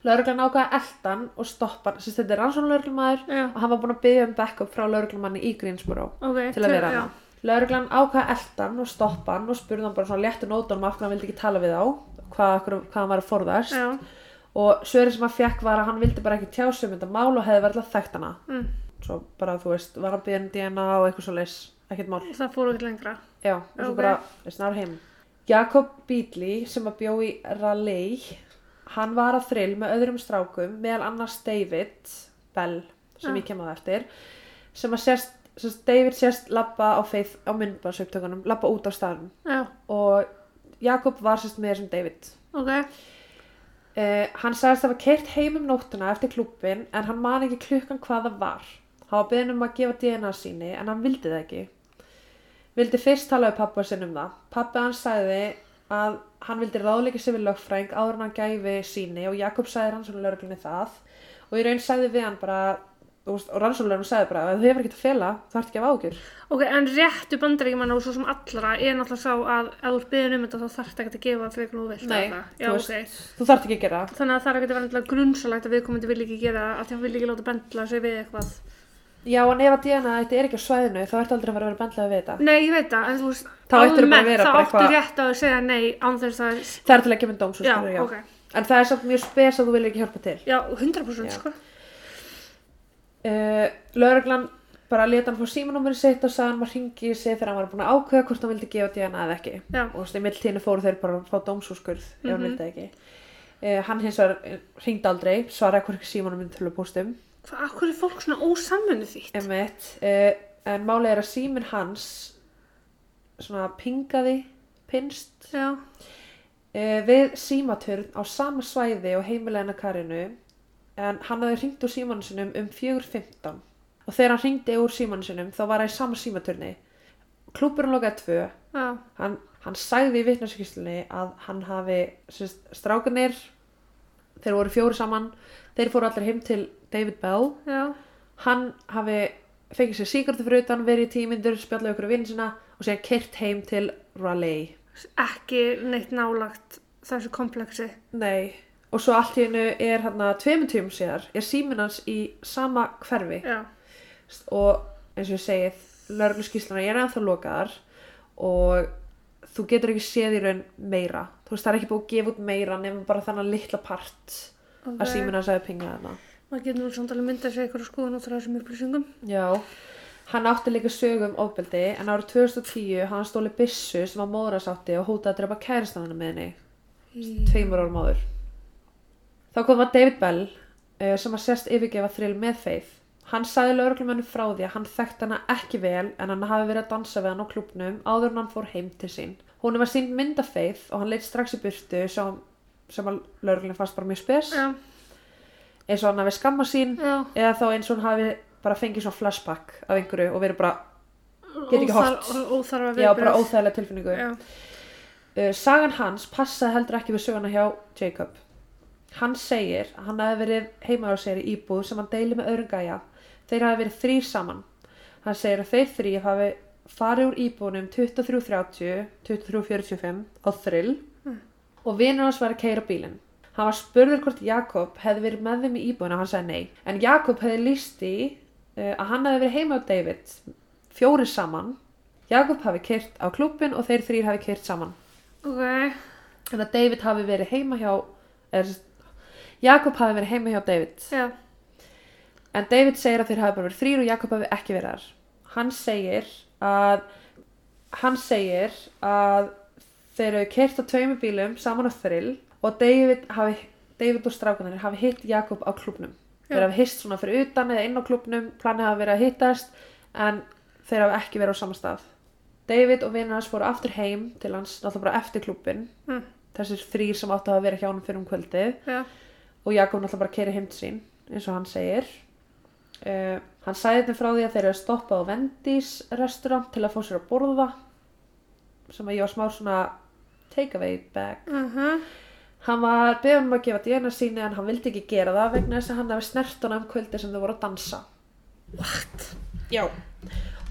A: Lauruglan ákvaði eldan og stoppa hann, sérst þetta er rannsóknarlauruglamaður
B: Já.
A: og hann var búinn að byggja um backup frá lauruglamanni í Greensboro
B: ok.
A: til að vera
B: já.
A: hana. Lauruglan ákvaða eldan og stoppa hann og spurði hann bara svona léttu nótunum af hvernig hann vildi ekki tala við þá, hvað, hvað hann var að forðast
B: Já.
A: og svörin sem hann fekk var að hann vildi bara ekki tjá sig um þetta mál og hefði verið alltaf þekkt hana.
B: Mm.
A: Svo bara þú veist, var hann byrjum DNA og eitthvað svo leys, ekkert mál.
B: Það fór ekki lengra.
A: Já, og svo
B: Ok.
A: bara, veist, náður heim. Jakob Bídli sem að bjó í Raleigh, hann var að þrill með öðrum strákum, meðal annars David Bell, sem
B: Já.
A: ég kem að eftir, sem að sérst, sem sagt, David sérst labba á, feith, á myndbansaupptökunum, labba út á staðnum
B: Já,
A: og Jakob var sérst með þessum David.
B: ok.
A: Uh, hann sagðist að hafa keirt heim um nóttuna eftir klubbin en hann man ekki klukkan hvað það var. Hann var beðin um að gefa DNA síni en hann vildi það ekki. Vildi fyrst tala við pappa sinn um það. Pappi hann sagði að hann vildi ráðleika sig við lögfræng áður en hann gæfi síni og Jakob sagði rannsóknum lögreglunni það og í raun sagði við hann bara þú veist, og rannsóknum lögreglunni sagði bara að þú hefur ekki að fela, þú ert ekki að ágjur.
B: Ok, en réttu bandaríkjumann og svo sem allra er náttúrulega sá að ef þú er byggðin um þetta þá þarf þetta ekki að gefa fyrir hvernig þú vilt.
A: Nei,
B: eða það.
A: þú
B: Já,
A: veist.
B: ok.
A: Þú þarft ekki að gera það.
B: Þannig að það er ekkert að vera endilega grunnsalegt að viðkomandi vil ekki gera það af því að hann vil ekki láta bendla sig við eitthvað.
A: Já en ef að DNA þetta er ekki á svæðinu þá ertu aldrei að fara að vera bendlega við þetta.
B: Nei, ég veit það, en þú veist,
A: Þá ættirðu bara að
B: almennt
A: vera
B: þá
A: bara
B: áttu
A: eitthvað-
B: rétt á að segja nei án þess að,
A: Það er til að kemur dóms og
B: Já,
A: skilur, já.
B: ok.
A: En það er samt mjög spes að þú viljir ekki hjálpa til.
B: já, 100%
A: Já.
B: sko.
A: Uh, Lögreglan bara leta hann fá símanúmerið sitt og sagði hann maður ringi sig þegar hann var búin að ákveða hvort hann vildi gefa DNA eða ekki.
B: Já.
A: Og þú veist, í milltíðinu fóru þeir bara að fá dómsúrskurð ef
B: Mhm.
A: hann vildi það ekki. Uh, hann hins vegar eh, hringdi aldrei, svaraði hvorki símanúmerið til að um, póstum.
B: Hvað, af hverju er fólk svona ósamvinnu þýtt?
A: Emmett, uh, en málið er að símin hans svona pingaði, pinst
B: Já,
A: Eh, við símaturn á sama svæði og heimilegna Karinu en hann hafði hringt úr símanu sinum um 4.15 og þegar hann hringdi úr símanu sinum þá var hann í sama símaturni klúburinn lokaði tvö
B: já,
A: hann, hann sagði í vitnarskýslunni að hann hafi sérst, strákanir þeir voru fjóri saman þeir fóru allir heim til David Bell
B: já,
A: hann hafi fengið sér síkartu fyrir utan verið í tímindur, spjallaði okkur vinn sinna og sér kert heim til Raleigh
B: ekki neitt nálagt þessu kompleksi.
A: Nei, og svo allt í hennu er hann að tveimur tíum síðar er síminn hans í sama hverfi
B: Já,
A: og eins og ég segi, lörglu skýslana er ennþá lokaðar og þú getur ekki séð í raun meira þú veist það er ekki búið að gefa út meira nema bara þannig litla part
B: ok.
A: að síminn hans hafi pingað hana
B: Maður getur nú samt alveg myndað sér eitthvað skoðun út frá þessum upplýsingum.
A: Já, hann átti líka sögum ofbeldi en árið 2010 hafði hann stóli byssu sem var móðrasátti og hótaði að drepa kæristanana með henni tveimur árum áður. Þá kom að David Bell uh, sem að sérst yfirgefa þrill með Faith. Hann sagði lauruglumennu frá því að hann þekkt hana ekki vel en hann hafi verið að dansa við hann á klubnum áður en hann fór heim til sín. Hún var sínd mynd af Faith og hann leitt strax í burtu sem, sem að lauruglunum fannst bara mjög spes
B: Já,
A: eins og hann hafi skamma sín
B: já.
A: eða þá eins og hann hafi bara fengið svona flashback af einhverju og verið bara, Get ekki
B: Óþar-
A: horft.
B: ó- Óþarfa
A: já, bara
B: viðbrögð.
A: óþægilega tilfinningu.
B: Já,
A: Uh, sagan hans passaði heldur ekki við söguna hjá Jacob. Hann segir að hann hafi verið heima á sér í íbúð sem hann deili með öðrum gæja. Þeir hafi verið þrýr saman. Hann segir að þeir þrýr hafi farið úr íbúðunum um 23.30, 23.45 á þrill og vinur hans var að keira bílinn. Hann var spurður hvort Jakob hefði verið með þeim í íbúðinu og hann sagði nei. En Jakob hefði líst í uh, að hann hefði verið heima á David fjóri saman. Jakob hafi keirt á klúbin og þeir þrýr hafi keirt saman.
B: ok.
A: Þannig að David hafi verið heima hjá er, Jakob hafi verið heima hjá David
B: Já,
A: en David segir að þeir hafi bara verið þrýr og Jakob hafi ekki verið þar hann segir að hann segir að þeir eru kert á tveimur bílum saman á þrill og David, hafi, David og strákanir hafi hitt Jakob á klubnum þeir
B: Já.
A: hafi hitt svona fyrir utan eða inn á klubnum planið hafi verið að hittast en þeir hafi ekki verið á sama stað David og vinnar hans fóru aftur heim til hans náttúrulega bara eftir klubin
B: Mm.
A: þessir þrýr sem áttu að vera hjá hann fyrir um kvöldið
B: já,
A: og Jakob náttúrulega bara keiri heim til sín eins og hann segir uh, hann sagði þetta frá því að þeir eru að stoppa á Wendy's restaurant til að fá sér að borða sem að ég var smá svona takeaway bag
B: mhm.
A: hann var beðan um að gefa DNA síni en hann vildi ekki gera það vegna þess að hann hafi snert hana um kvöldi sem þau voru að dansa What? Já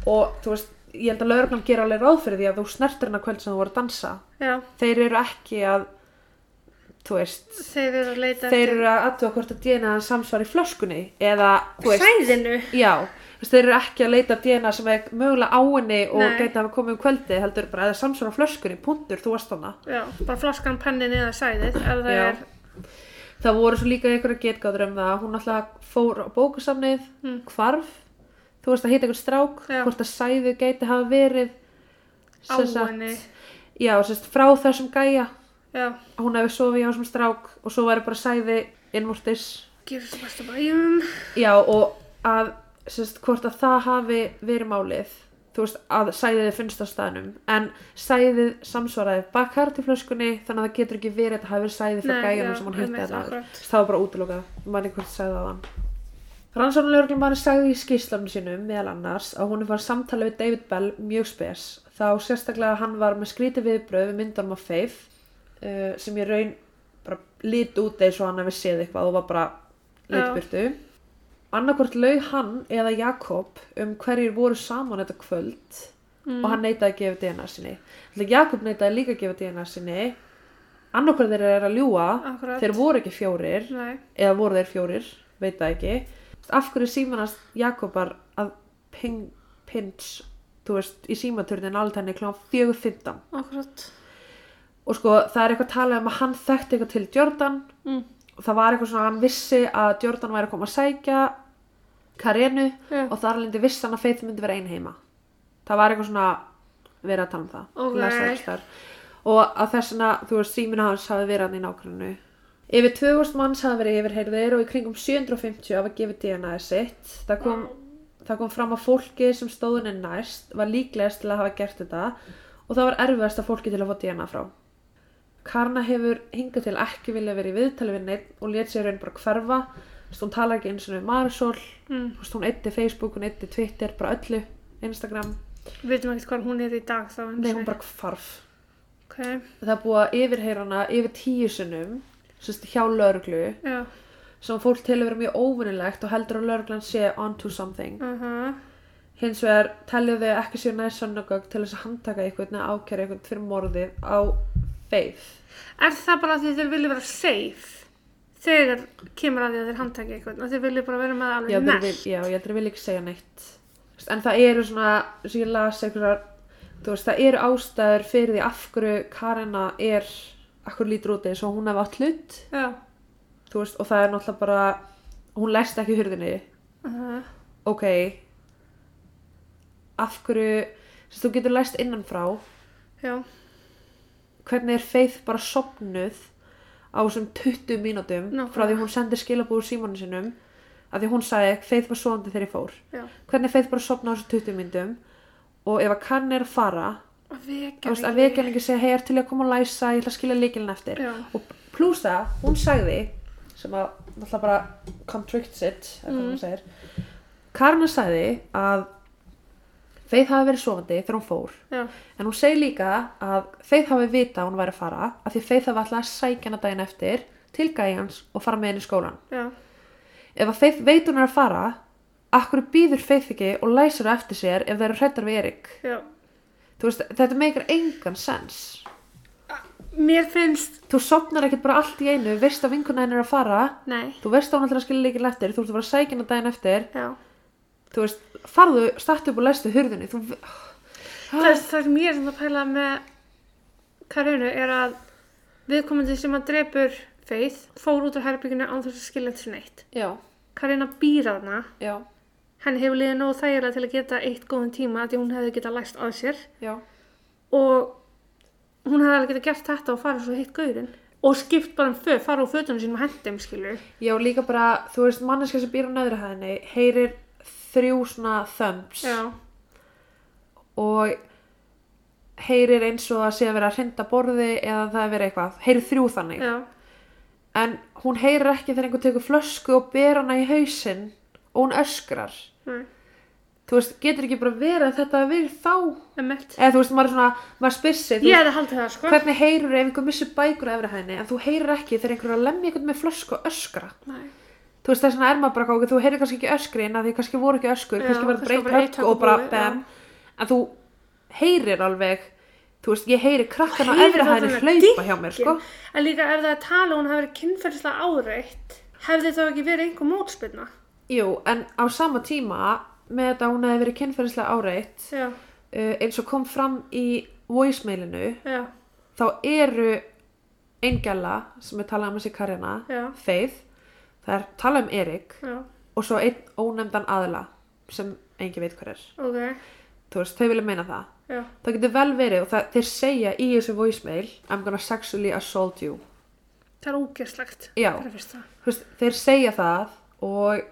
A: og þú veist, ég held að lauruglan gera alveg ráð fyrir því að þú snertir hana kvöld sem þau voru að dansa
B: Já,
A: þeir eru ekki að þú veist
B: þeir eru að leita
A: þeir eru að aðtuga hvort að DNA hans samsvar í flöskunni eða, þú
B: eftir
A: veist,
B: sæðinu.
A: já Þess, þeir eru ekki að leita að DNA sem er mögulega á henni og
B: Nei.
A: gæti að hafa komið um kvöldi heldur bara eða samsvara flöskunni, punktur, þú varst hana
B: Já, bara flaskan, pennin eða sæðið ef það
A: Já.
B: er
A: Það voru svo líka einhverja getgáður um það að hún alltaf fór á bókasamnið, hvarf, þú veist að hita einhvern strák,
B: Hmm. Já.
A: hvort að sæðu gæti hafa verið
B: á
A: sem sagt-
B: henni
A: Já, sérst, frá þessum gæja,
B: Já,
A: að hún hefði sofið hjá þessum strák og svo væri bara sæði innvortis.
B: gefur svo mest að bæjum
A: Já, og að, sérst, hvort að það hafi verið málið, þú veist, að sæðið finnst á staðnum, en sæðið samsvaraði bakkar til flöskunni, þannig að það getur ekki verið að það hafi verið sæðið frá
B: Nei, já,
A: gæjanum sem hún hitti
B: einmitt,
A: þarna.
B: akkurat.
A: Þess, Það var bara útilokað, manni hvort sagði það hann. Rannsóknulegur manni sagði í skýslanum sínum meðal annars að hún var samtalið við David Bell mjög spes, þá sérstaklega að hann var með skríti viðbröð við myndunum af Faith, uh, sem ég raun bara lit út eins og hann hefði séð eitthvað og var bara
B: Já.
A: litbyrtu. Annarkvort laug hann eða Jakob um hverjir voru saman þetta kvöld og hann neitaði að gefa DNA sinni. Þannig Jakob neitaði líka að gefa DNA sinni. Annarkvort þeir eru að ljúa,
B: Akkurat.
A: þeir voru ekki fjórir
B: Nei,
A: eða voru þeir fjórir, veit það ekki af hverju símanast Jakobar að ping, pins þú veist, í símaturnin alveg henni kl. 4.15
B: akkurat
A: og sko það er eitthvað talað um að hann þekkti eitthvað til Jordan
B: mm.
A: og það var eitthvað svona að hann vissi að Jordan væri að koma að sækja Karenu
B: Já.
A: og þar lendi viss hann að Faith myndi vera ein heima það var eitthvað svona verið að tala um það
B: Ok.
A: Ég las það einhvers staðar. og að þess vegna, þú veist, símina hans hafi verið hann í nákvæmnu yfir 2000 manns hafi verið yfirheyrðir og í kringum 750 hafa gefið DNA sitt það kom, það kom fram að fólki sem stóðunni næst var líklegast til að hafa gert þetta og það var erfiðast að fólki til að fá DNA frá Karna hefur hingað til ekki vilja verið í viðtali við neitt og lét sér raun bara hverfa Þú veist, hún talar ekki eins og við Marisol
B: Mm.
A: Þú veist, hún eitti Facebook, hún eitti Twitter bara öllu, Instagram
B: Við veitum ekkert hvað hún er í dag þá einu
A: Nei,
B: sinni.
A: hún bara hvarf
B: Ok,
A: Það er búið að yfirheyra hana yfir tíu sinnum sérst, hjá lögreglu
B: já,
A: sem fólk telur verið mjög óvinnilegt og heldur að lögreglan sé onto something
B: aha
A: Hins vegar telur þau ekki séu næst sannugögg til þess að handtaka einhvern eða ákæra einhvern fyrir morðið á Faith
B: Er það bara af því þeir vilja vera safe þegar kemur að því að þeir handtaki eitthvað og þeir vilja bara vera með
A: já,
B: alveg
A: þeir vil,
B: nætt
A: já, ég heldur að vilja ekki segja neitt Þú veist, en það eru svona eins og ég las einhverjar þú veist, það eru ástæður fyrir því af hverju Karina er akkur lítur úti eins og hún hef átt hlut
B: Já,
A: þú veist, og það er náttúrulega bara hún lest ekki hurðinni
B: aha,
A: ok af hverju þess, þú getur lest innanfrá
B: já,
A: hvernig er Faith bara sopnuð á þessum 20 mínútum
B: Nákvæmlega.
A: frá því hún sendir skilabúið símanu sinum að því hún sagði Faith var svoandi þegar ég fór
B: já
A: hvernig Faith bara sopna á þessu 20 myndum og ef að kann er að fara
B: Að
A: þú
B: vekja
A: veist, að
B: mig.
A: vekja henni segja, hei, er til í að koma og læsa ég ætla að skilja líkilin eftir
B: Já.
A: og pluss það, hún sagði sem að náttúrulega bara contracts it, eða hvað hún segir Karna sagði að Faith hafi verið sofandi þegar hún fór
B: Já,
A: en hún segir líka að Faith hafi vita að hún væri að fara af því Faith hafi alltaf að sækja hana daginn eftir til gæjans og fara með henni í skólan
B: já,
A: ef að Faith veit hún er að fara akkur býður Faith ekki og læsir það eftir sér ef þeir eru hrættar við Erik
B: já
A: þú veist, þetta meikar engan sens
B: Mér finnst,
A: þú sopnar ekkert bara allt í einu veist að vinkuna henn er að fara
B: nei,
A: þú veist að hún ætlar að skilja líkil eftir þú ert að fara að sækja hana daginn eftir
B: já
A: þú veist, farðu, startu upp og læstu hurðinni þú... Ah,
B: það, er- það sem ég er svona að pæla með Karunu er að viðkomandi sem að drepur Faith fór út á herbygginu án þess að skilja þessu neitt.
A: já,
B: Karina býr þarna,
A: já,
B: henni hefur liðið nógu þægilega til að geta eitt góðan tíma af því hún hefði getað læst að sér
A: já
B: og hún hefði alveg getað gert þetta og farið svo hitt gaurinn og skipt bara um föt, farið úr fötunum sínum og hendum skilju.
A: já, líka bara, þú veist, manneska sem býr á nöðra hæðinni heyrir þrjú svona þöms
B: Já,
A: og heyrir eins og það sé að vera að hrinda borði eða það að vera eitthvað, heyrir þrjú þannig
B: já,
A: en hún heyrir ekki þegar einhver tekur flösku og ber hana í hausinn og hún öskrar
B: nei,
A: þú veist, getur ekki bara verið að þetta hafi verið þá
B: emmett.
A: eða þú veist, maður er svona, maður spyr sig þú
B: Ég
A: veist,
B: hefði haldið það sko.
A: hvernig heyrur ef einhver missir bækur á efri hæðinni, en þú heyrir ekki þegar einhver er að lemja einhvern með flösku og öskra
B: Nei,
A: þú veist, þess vegna er maður bara gáð, þú heyrir kannski ekki öskrin að því kannski voru ekki öskur,
B: Já,
A: kannski var
B: kannski
A: breytt
B: var bara
A: högg
B: eitt högg
A: og bara
B: og búið,
A: bam, en þú heyrir alveg þú veist, ég heyri krakkan á
B: Heyrir
A: efri hæðinni
B: allavega
A: hlaupa hjá mér, sko
B: dynkin. En líka ef það er tala og hún hafi verið kynferðislega áreitt, hefði þá ekki verið einhver mótspilna?
A: jú, en á sama tíma með þetta að hún hefði verið kynferðislega áreitt
B: já,
A: uh, eins og kom fram í voicemailinu
B: já,
A: þá eru engjala sem er talað um þessi Karina
B: Já.
A: Faith, það er talað um Erik
B: já,
A: og svo einn ónefndan aðila sem engin veit hver er
B: ok,
A: þú veist, þau vilja meina það
B: já,
A: það getur vel verið og það, þeir segja í þessu voicemail I'm gonna sexually assault you
B: það er ógeðslegt.
A: Já.
B: Bara fyrst það.
A: Þú veist, þeir segja það og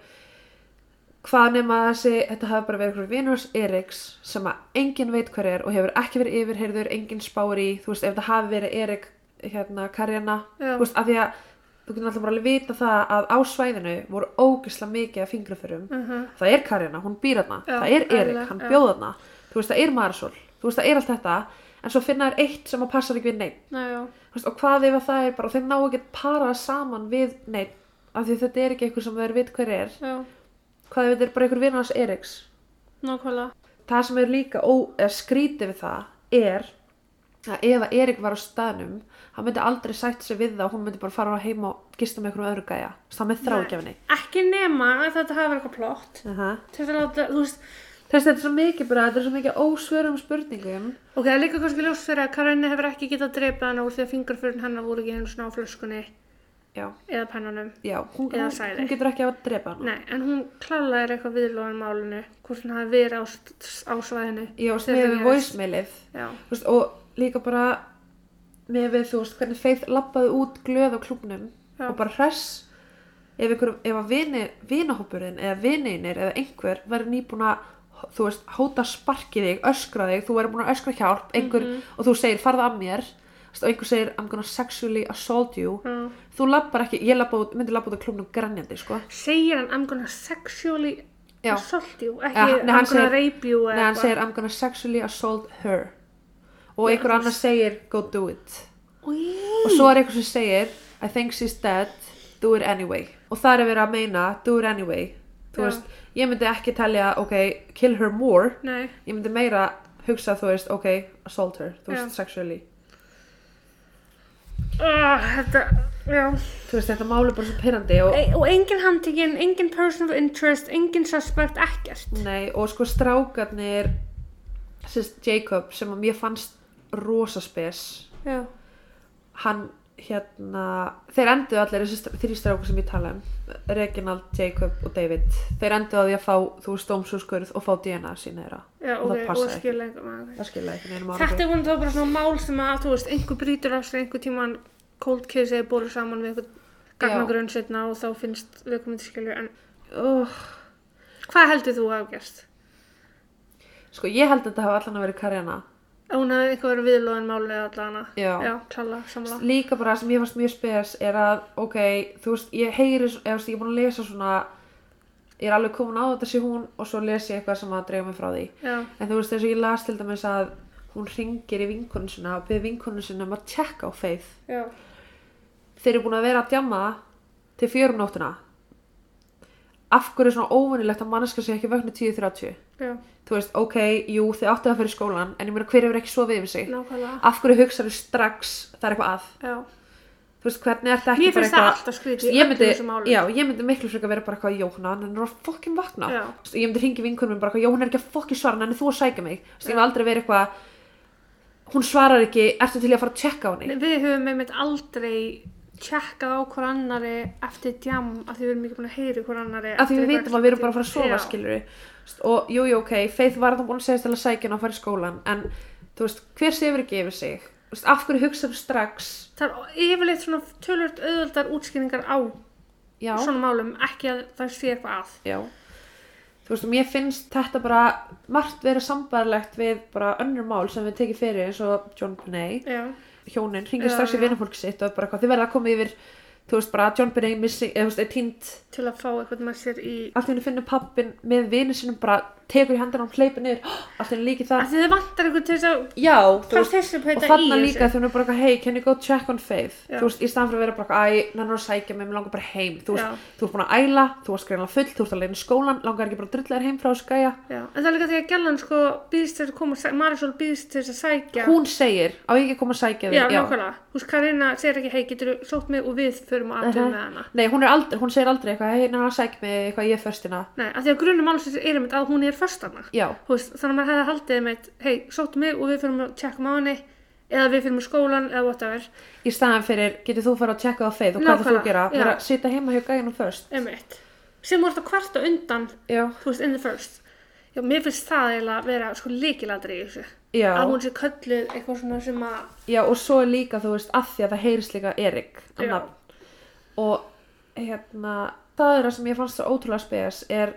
A: hvað nema þessi, þetta hafi bara verið einhver vinurs Eriks sem að enginn veit hver er og hefur ekki verið yfirheyrður, enginn spáir í, þú veist, ef það hafi verið Erik hérna, Karjana,
B: Já.
A: þú veist, af því að þú getur alltaf bara alveg vita það að á svæðinu voru ógisla mikið af fingraförum
B: Mhm.
A: það er Karjana, hún býr þarna
B: Já,
A: það er Erik,
B: eðlilega,
A: hann
B: já.
A: bjóð þarna þú veist, það er Marisol, þú veist, það er allt þetta en svo finna þær eitt sem að passar ekki við neitt
B: Næ, já,
A: Þú veist, og hvað ef að það er bara og þeir ná ekki að para saman við neitt af því þetta er ekki eitthvað sem þeir veit hver er
B: já,
A: hvað ef þetta er bara einhver vinnars Eriks
B: nákvæmlega.
A: það sem er líka ó, eða skrítið við það er að ef að Erik var á staðnum hann myndi aldrei sætt sig við það og hún myndi bara fara á heim og gista með einhverjum öðru gæja það með þrákjafinni
B: Ekki nema að þetta hafi verið eitthvað plott.
A: uh -huh.
B: Til þess að láta, þú veist,
A: þess að þetta er svo mikið bara þetta er svo mikið ósvörum spurningum
B: ok, það er líka kannski ljós fyrir að Karinni hefur ekki getað dreipað hana úr því að fingarförin hennar voru ekki hennu svona á flöskunni
A: já,
B: eða pennanum.
A: já, hún,
B: Eða
A: hún,
B: sæði.
A: hún getur ekki að drepa hann
B: Nei, en hún klálega er eitthvað viðlóðan málinu, hvort hún hafi verið á, s- á svæðinu.
A: já, og
B: þegar
A: með
B: það
A: við
B: gerðist.
A: voismilið
B: Já,
A: Þú veist, og líka bara með við þú veist hvernig Faith lappaði út glöð á klubnum
B: Já.
A: og bara hress ef, einhver, ef að vini, vinahópurinn eða vininir eða einhver verður nýbúin að þú veist, hóta sparki þig, öskra þig þú verður búin að öskra hjálp einhver,
B: Mhm.
A: og þú segir farða að mér þú veist, og einhver segir I'm gonna sexually assault you
B: já.
A: þú lappar ekki, ég labba út, myndi lappa út á klubnum grænjandi sko
B: Segir hann, I'm gonna sexually
A: Já.
B: assault you, ekki
A: Ja, nei, hann
B: I'm gonna
A: segir-
B: rape you
A: Nei,
B: eða
A: hann segir I'm gonna sexually assault her og einhver annar segir go do it og svo er eitthvað sem segir I think she's dead, do it anyway og það er verið að meina, do it anyway þú
B: Já.
A: veist, ég myndi ekki telja ok, kill her more
B: Nei,
A: ég myndi meira hugsa, þú veist, ok assault her, þú
B: Já.
A: veist, sexually
B: oh, þetta, já.
A: þú veist, þetta máli bara svo pyrrandi og,
B: E og engin handtekinn, engin person of interest, engin suspect, ekkert.
A: nei, og sko strákarnir sérst Jacob sem að mér fannst rosa spes
B: Já,
A: hann hérna þeir enduðu allir þessi þrý strákur sem ég tala um Reginald, Jacob og David þeir enduðu að því að fá þú veist dómsúrskurð og fá DNA sína þeirra
B: já,
A: og
B: ok,
A: það
B: og
A: passaði ekki
B: skilja einhver maður.
A: það skilja ekki neinum
B: Þetta
A: ára
B: er vonið þá bara svona mál sem að, þú veist, einhver brýtur af sig einhver tíman cold case eða bólu saman við einhver gagnagrunn setna og þá finnst við komið til skilju. En
A: oh,
B: hvað heldur þú að hafa gerst?
A: sko ég held að þetta hafa allan að verið Karjana
B: Að hún hefði eitthvað verið viðlóðan málið eða allana?
A: Já.
B: Já, klála, samla.
A: líka bara sem ég varst mjög spes er að ok, þú veist, ég heyri eða þú veist, ég er búin að lesa svona ég er alveg komin á þetta sé hún og svo les ég eitthvað sem að dreifa mig frá því
B: Já,
A: en þú veist eins og ég las til dæmis að hún ringir í vinkonun sinna og byrði vinkonun sinna um að tjekka á Faith
B: já,
A: þeir eru búin að vera að djamma til fjörum nóttina af hverju er svona óvenjulegt að manneska sé ekki vögnu 10.30
B: já,
A: þú veist, ok, jú, þið áttu að fyrir skólan en ég meina hver hefur ekki sofið yfir sig
B: nákvæmlega.
A: af hverju hugsaðu strax það er eitthvað að
B: Já,
A: þú veist, hvernig er þetta ekki
B: Mér
A: bara
B: finnst það
A: eitthvað
B: alltaf skrítið í
A: Ég
B: öllum
A: myndi-
B: þessum málum.
A: já, ég myndi miklu frekar vera bara eitthvað Jóhanna, hann er að fokkin vakna
B: Já.
A: Þú veist, ég myndi ringi vinkunum minn bara eitthvað, Jóhanna er ekki að fokkin svara hann er þú að sækja mig, þú veist, ég myndi aldrei vera eitthvað hún svarar ekki, ertu til í að fara að tjekka á henni
B: Nei, við höfum einmitt aldrei tjekkað á hver annari eftir djam að því við erum ekki búin að heyri hver annari
A: að því
B: eftir
A: við
B: eitthvað
A: vitum að við erum bara að fara að sofa
B: Já.
A: skilur við og jújú jú, ok, Faith var það búin að segja til að sækja hana að fara í skólan en þú veist, hver sefur ekki yfir sig Þú veist, af hverju hugsaðu strax
B: Það er yfirleitt svona tölvöld auðvöldar útskýringar á
A: já,
B: svona málum, ekki að það sé eitthvað að.
A: já þú veist, og mér finnst þetta bara margt verið sambarlegt við bara önnur mál sem við tekið fyrir eins og John Binet
B: Já,
A: hjónin hringir
B: Já,
A: strax í
B: já.
A: vinafólk sitt og er bara hvað, þið verða að koma yfir þú veist bara John Binet missing, eða þú veist, er tínt
B: til að fá eitthvað með sér í...
A: allt í henni finnur pappin með vinið sinum bara tekur í hendina og hleypur niður, allt er líkið
B: Af
A: það
B: því þið vantar einhvern til þess að
A: já, þú
B: fá
A: veist,
B: þessu
A: og
B: pæta í
A: þarna líka
B: þessu.
A: þegar hún er bara eitthvað, hey, can you go check on Faith
B: Já.
A: þú veist, í staðan fyrir að vera bara eitthvað, æ, hann er að sækja mig, mér langar bara heim þú
B: Já.
A: veist, þú ert búin að æla, þú varst greinlega full þú ert að leina skólan, langar ekki bara að drulla þér heim frá þessu gæja
B: Já, en það er líka því að gælan sko býðst til að koma, að sæ- Marisol býðst til þess að sækja.
A: hún segir, á ég ekki að koma að sækja þig
B: Já, nákvæmlega. Þú veist, Karina segir ekki, hei, getur þú sótt mig og við förum að aðtöðu með hana.
A: Nei, hún, er aldrei, hún segir aldrei eitthvað, hey, hann er að sækja mig, eitthvað, ég er förstina
B: Nei, af því að grunum málsins er einmitt að hún er först hana.
A: Já.
B: Þú veist, þannig að maður hefði haldið einmitt, hei, sóttu mig og við förum að tjekkum á henni, eða við förum í skólan, eða whatever,
A: í staðan fyrir, getur þú fara að checka á Faith og hvað þú
B: Nákvæmlega,
A: þú gera,
B: já.
A: vera að sitja heima hjá gæjanum först
B: einmitt. Sem voru þetta kvarta undan,
A: já,
B: þú veist, in the first. Já, mér finnst það eiginlega að vera sko líkiladri í þessu.
A: já,
B: Að hún sé kölluð eitthvað svona sem að,
A: já, og svo er líka þú veist, að því að það heyrist líka Erik að
B: Já.
A: nafn. og hérna, það er það sem ég fannst svo ótrúlega spes er,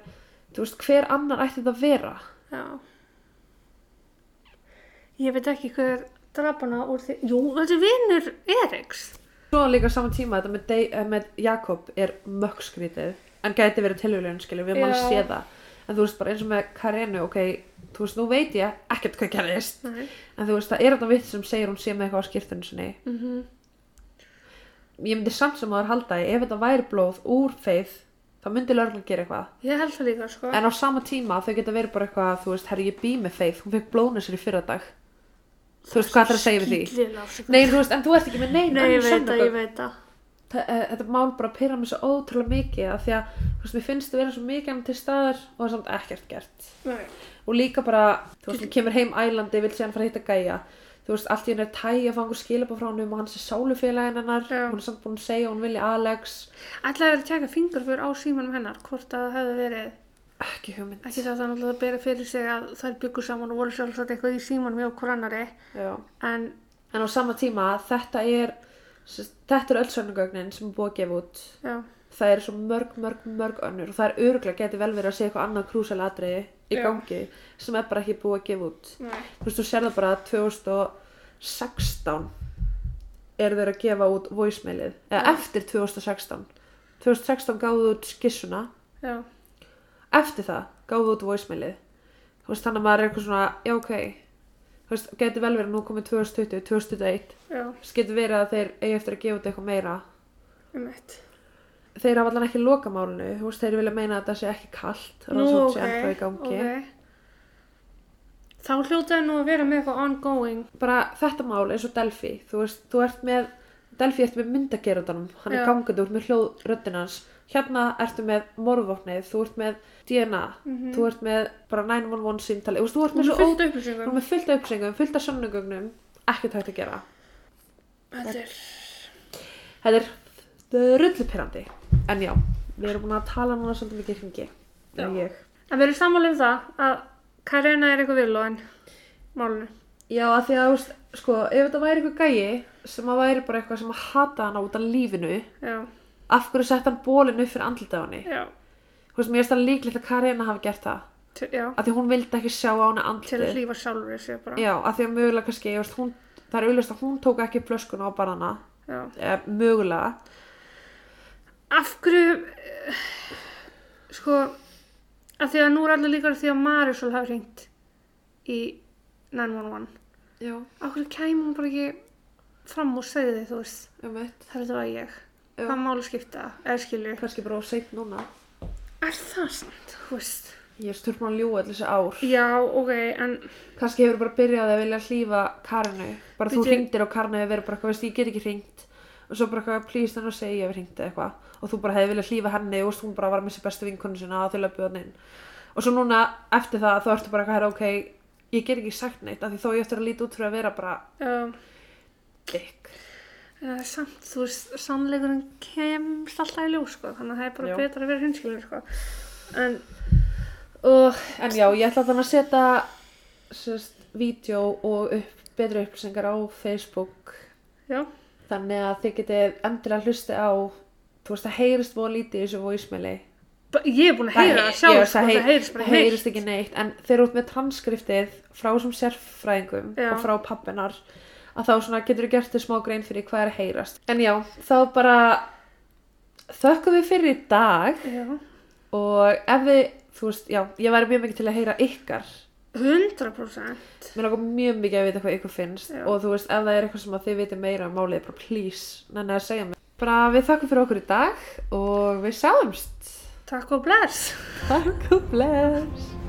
A: þú veist, hver annar ætti þetta að vera
B: já. Ég veit ekki hver draf hana úr því, jú, þetta er vinur Eriks.
A: svo líka á sama tíma, þetta með, Dei- eh, með Jakob er mökskrítið en gæti verið tilhjulun, skilju, við mann
B: Já.
A: sé það en þú veist, bara eins og með Karenu ok, þú veist, nú veit ég ekkert hvað gerðist
B: Nei.
A: en þú veist, það er þetta vitt sem segir hún sé með eitthvað á skýrtunum sinni
B: Mhm.
A: ég myndi samt sem aður halda að ef þetta væri blóð úr feið þá myndi lörgla gera eitthvað
B: Ég held það líka, sko.
A: en á sama tíma þau geta verið bara eitthvað þú veist, herri ég bý með feið, hún fekk blóðinu sér í fyrradag þú veist hvað það er að segja við því Nei, þú veist, en þú ert ekki með neina
B: sko. Nei,
A: önnur
B: ég veit það, ég
A: sönnunargögn.
B: veit það.
A: Þa- eh, Þetta mál bara pyrra mér svo ótrúlega mikið af því að, þú veist, mér finnst það vera svo mikið annað til staðar og það er samt ekkert gert
B: Nei.
A: og líka bara, þú veist, hún kemur heim ælandi, vil síðan fara að hitta gæja þú veist, allt í henni er tæja fangur skilabá frá hann um og hans er sálufélagin hennar
B: Já.
A: hún er samt búin að segja, að hún vilja Alex
B: Ætlaði að tjekka fingraför á símanum hennar, hvort að það hefði verið,
A: ekki hugmynd
B: ekki það þannig að það bera fyrir sig að þær byggu saman og voru sjálfsagt eitthvað í símanum hjá hver annari,
A: Já.
B: en
A: en á sama tíma, þetta er sem sagt, þetta er öll sönnugögnin sem er búið að gefa út
B: já,
A: það eru svo mörg, mörg, mörg önnur og það er öruglega getið vel verið að segja eitthvað annað krúsaladriði í
B: Já.
A: gangi sem er bara ekki búið að gefa út
B: nei,
A: þú veist, þú sér það bara að 2016 eru þeir að gefa út voicemailið, eða eftir 2016 2016 gáðu út skissuna
B: já,
A: eftir það gáðu út voicemailið þú veist, þannig að maður er eitthvað svona, já ok þú veist, getur vel verið að nú komið 2020 2021,
B: já,
A: þú veist, getur verið að þeir eigi eftir að gefa út eitthvað meira
B: um eitt.
A: þeir hafa allan ekki loka málinu þú veist, þeir vilja meina að það sé ekki kalt
B: Nú,
A: rannsókn sé ennþá í
B: ok,
A: gangi
B: ok. Þá hljótaði nú að vera með eitthvað ongoing,
A: bara þetta mál eins og Delphi þú veist, þú ert með Delphi ertu með myndagerundanum, hann
B: Já.
A: er gangandi út með hljóðröddin hans, hérna ertu með morðvopnið, þú ert með DNA þú ert með bara 911 símtali, þú veist, þú ert
B: hún
A: með
B: er
A: svo
B: fullt
A: ó- þú ert
B: upplýsingum.
A: með fullt af upplýsingum, fullt af sönnugögnum ekkert hægt að gera
B: Þetta er,
A: þetta er, þetta er rullupirrandi en já, við erum búin að tala núna svolítið mikið hringi,
B: Já.
A: ég
B: en við erum sammála um það að Karina er eitthvað viljóðin, málunum.
A: Já, að því að, þú veist, sko, ef þetta væri eitthvað gæi sem að væri bara eitthvað sem að hata hana út af lífinu,
B: Já,
A: af hverju sett hann bólinu fyrir andlitið á henni?
B: já,
A: Þú veist, mér finnst það líklegt að Karina hafi gert það.
B: til, já,
A: Af því hún vildi ekki sjá á henni
B: til að
A: andlitið.
B: hlýfa sjálfur sér bara.
A: Já, af því að mögulega kannski, ég veist, hún, það er auðvitað að hún tók ekki flöskuna á barana,
B: Já.
A: eh, mögulega.
B: Af hverju, eh, sko, af því að nú er allir líkar því að Marisol hafi hringt í 911.
A: Já,
B: Af hverju kæmi hún bara ekki fram og segði þið, þú veist,
A: um eitt.
B: það er þetta var ég.
A: Já.
B: Hvað máli skipta, eða skilju.
A: Kannski bara á seitt núna.
B: Er það sant, þú veist?
A: Ég er stjórn búin að ljúga allir þessi ár.
B: Já, ok, en,
A: Kannski hefur bara byrjað að vilja hlýfa Karinu. Bara þú
B: Bíddu.
A: hringdir og Karinu hefur verið bara eitthvað, veist, ég get ekki hringt. Og svo bara eitthvað, please, þannig að segja ég hefur hringt eða eitthvað. Og þú bara hefði viljað hlýfa henni og þú veist, hún bara var með sér bestu vinkonu sinna að þau löpu hann inn. Og svo núna, eftir það, þá ertu bara eitthvað, herra, ok, ég get ekki sagt neitt. Af því þá ég eftir að líta út fyrir að vera bara
B: um,
A: dikk.
B: uh, samt, þú veist, sannleikurinn kemst alltaf í ljós, sko, þannig að það er bara
A: Já.
B: betra að vera hinskilur, sko. En,
A: Og, en já, ég ætla þannig að setja, sérst, vídeo og upp, betri upplýsingar á Facebook
B: já,
A: Þannig að þið getið endilega hlusti á, þú veist, það heyrist voða lítið í þessu voismili.
B: Ba- Ég er búin að heyra það sjálf, sko, það heyrist bara
A: heilt.
B: heilt.
A: heyrist ekki neitt, en þeir eru út með transkriptið frá þessum sérfræðingum
B: Já.
A: og frá pappinar, að þá svona getur þú gert þér smá grein fyrir hvað er að heyrast. En já, þá bara þökkum við fyrir í dag
B: Já,
A: og ef við, þú veist, já, ég væri mjög mikið til að heyra ykkar
B: 100%
A: mér langar mjög mikið að vita hvað ykkur finnst
B: Já.
A: og þú veist, ef það er eitthvað sem að þið vitið meira um málið, bara please, nenni að segja mér bara við þakkum fyrir okkur í dag og við sjáumst
B: Takk og bless
A: Takk og bless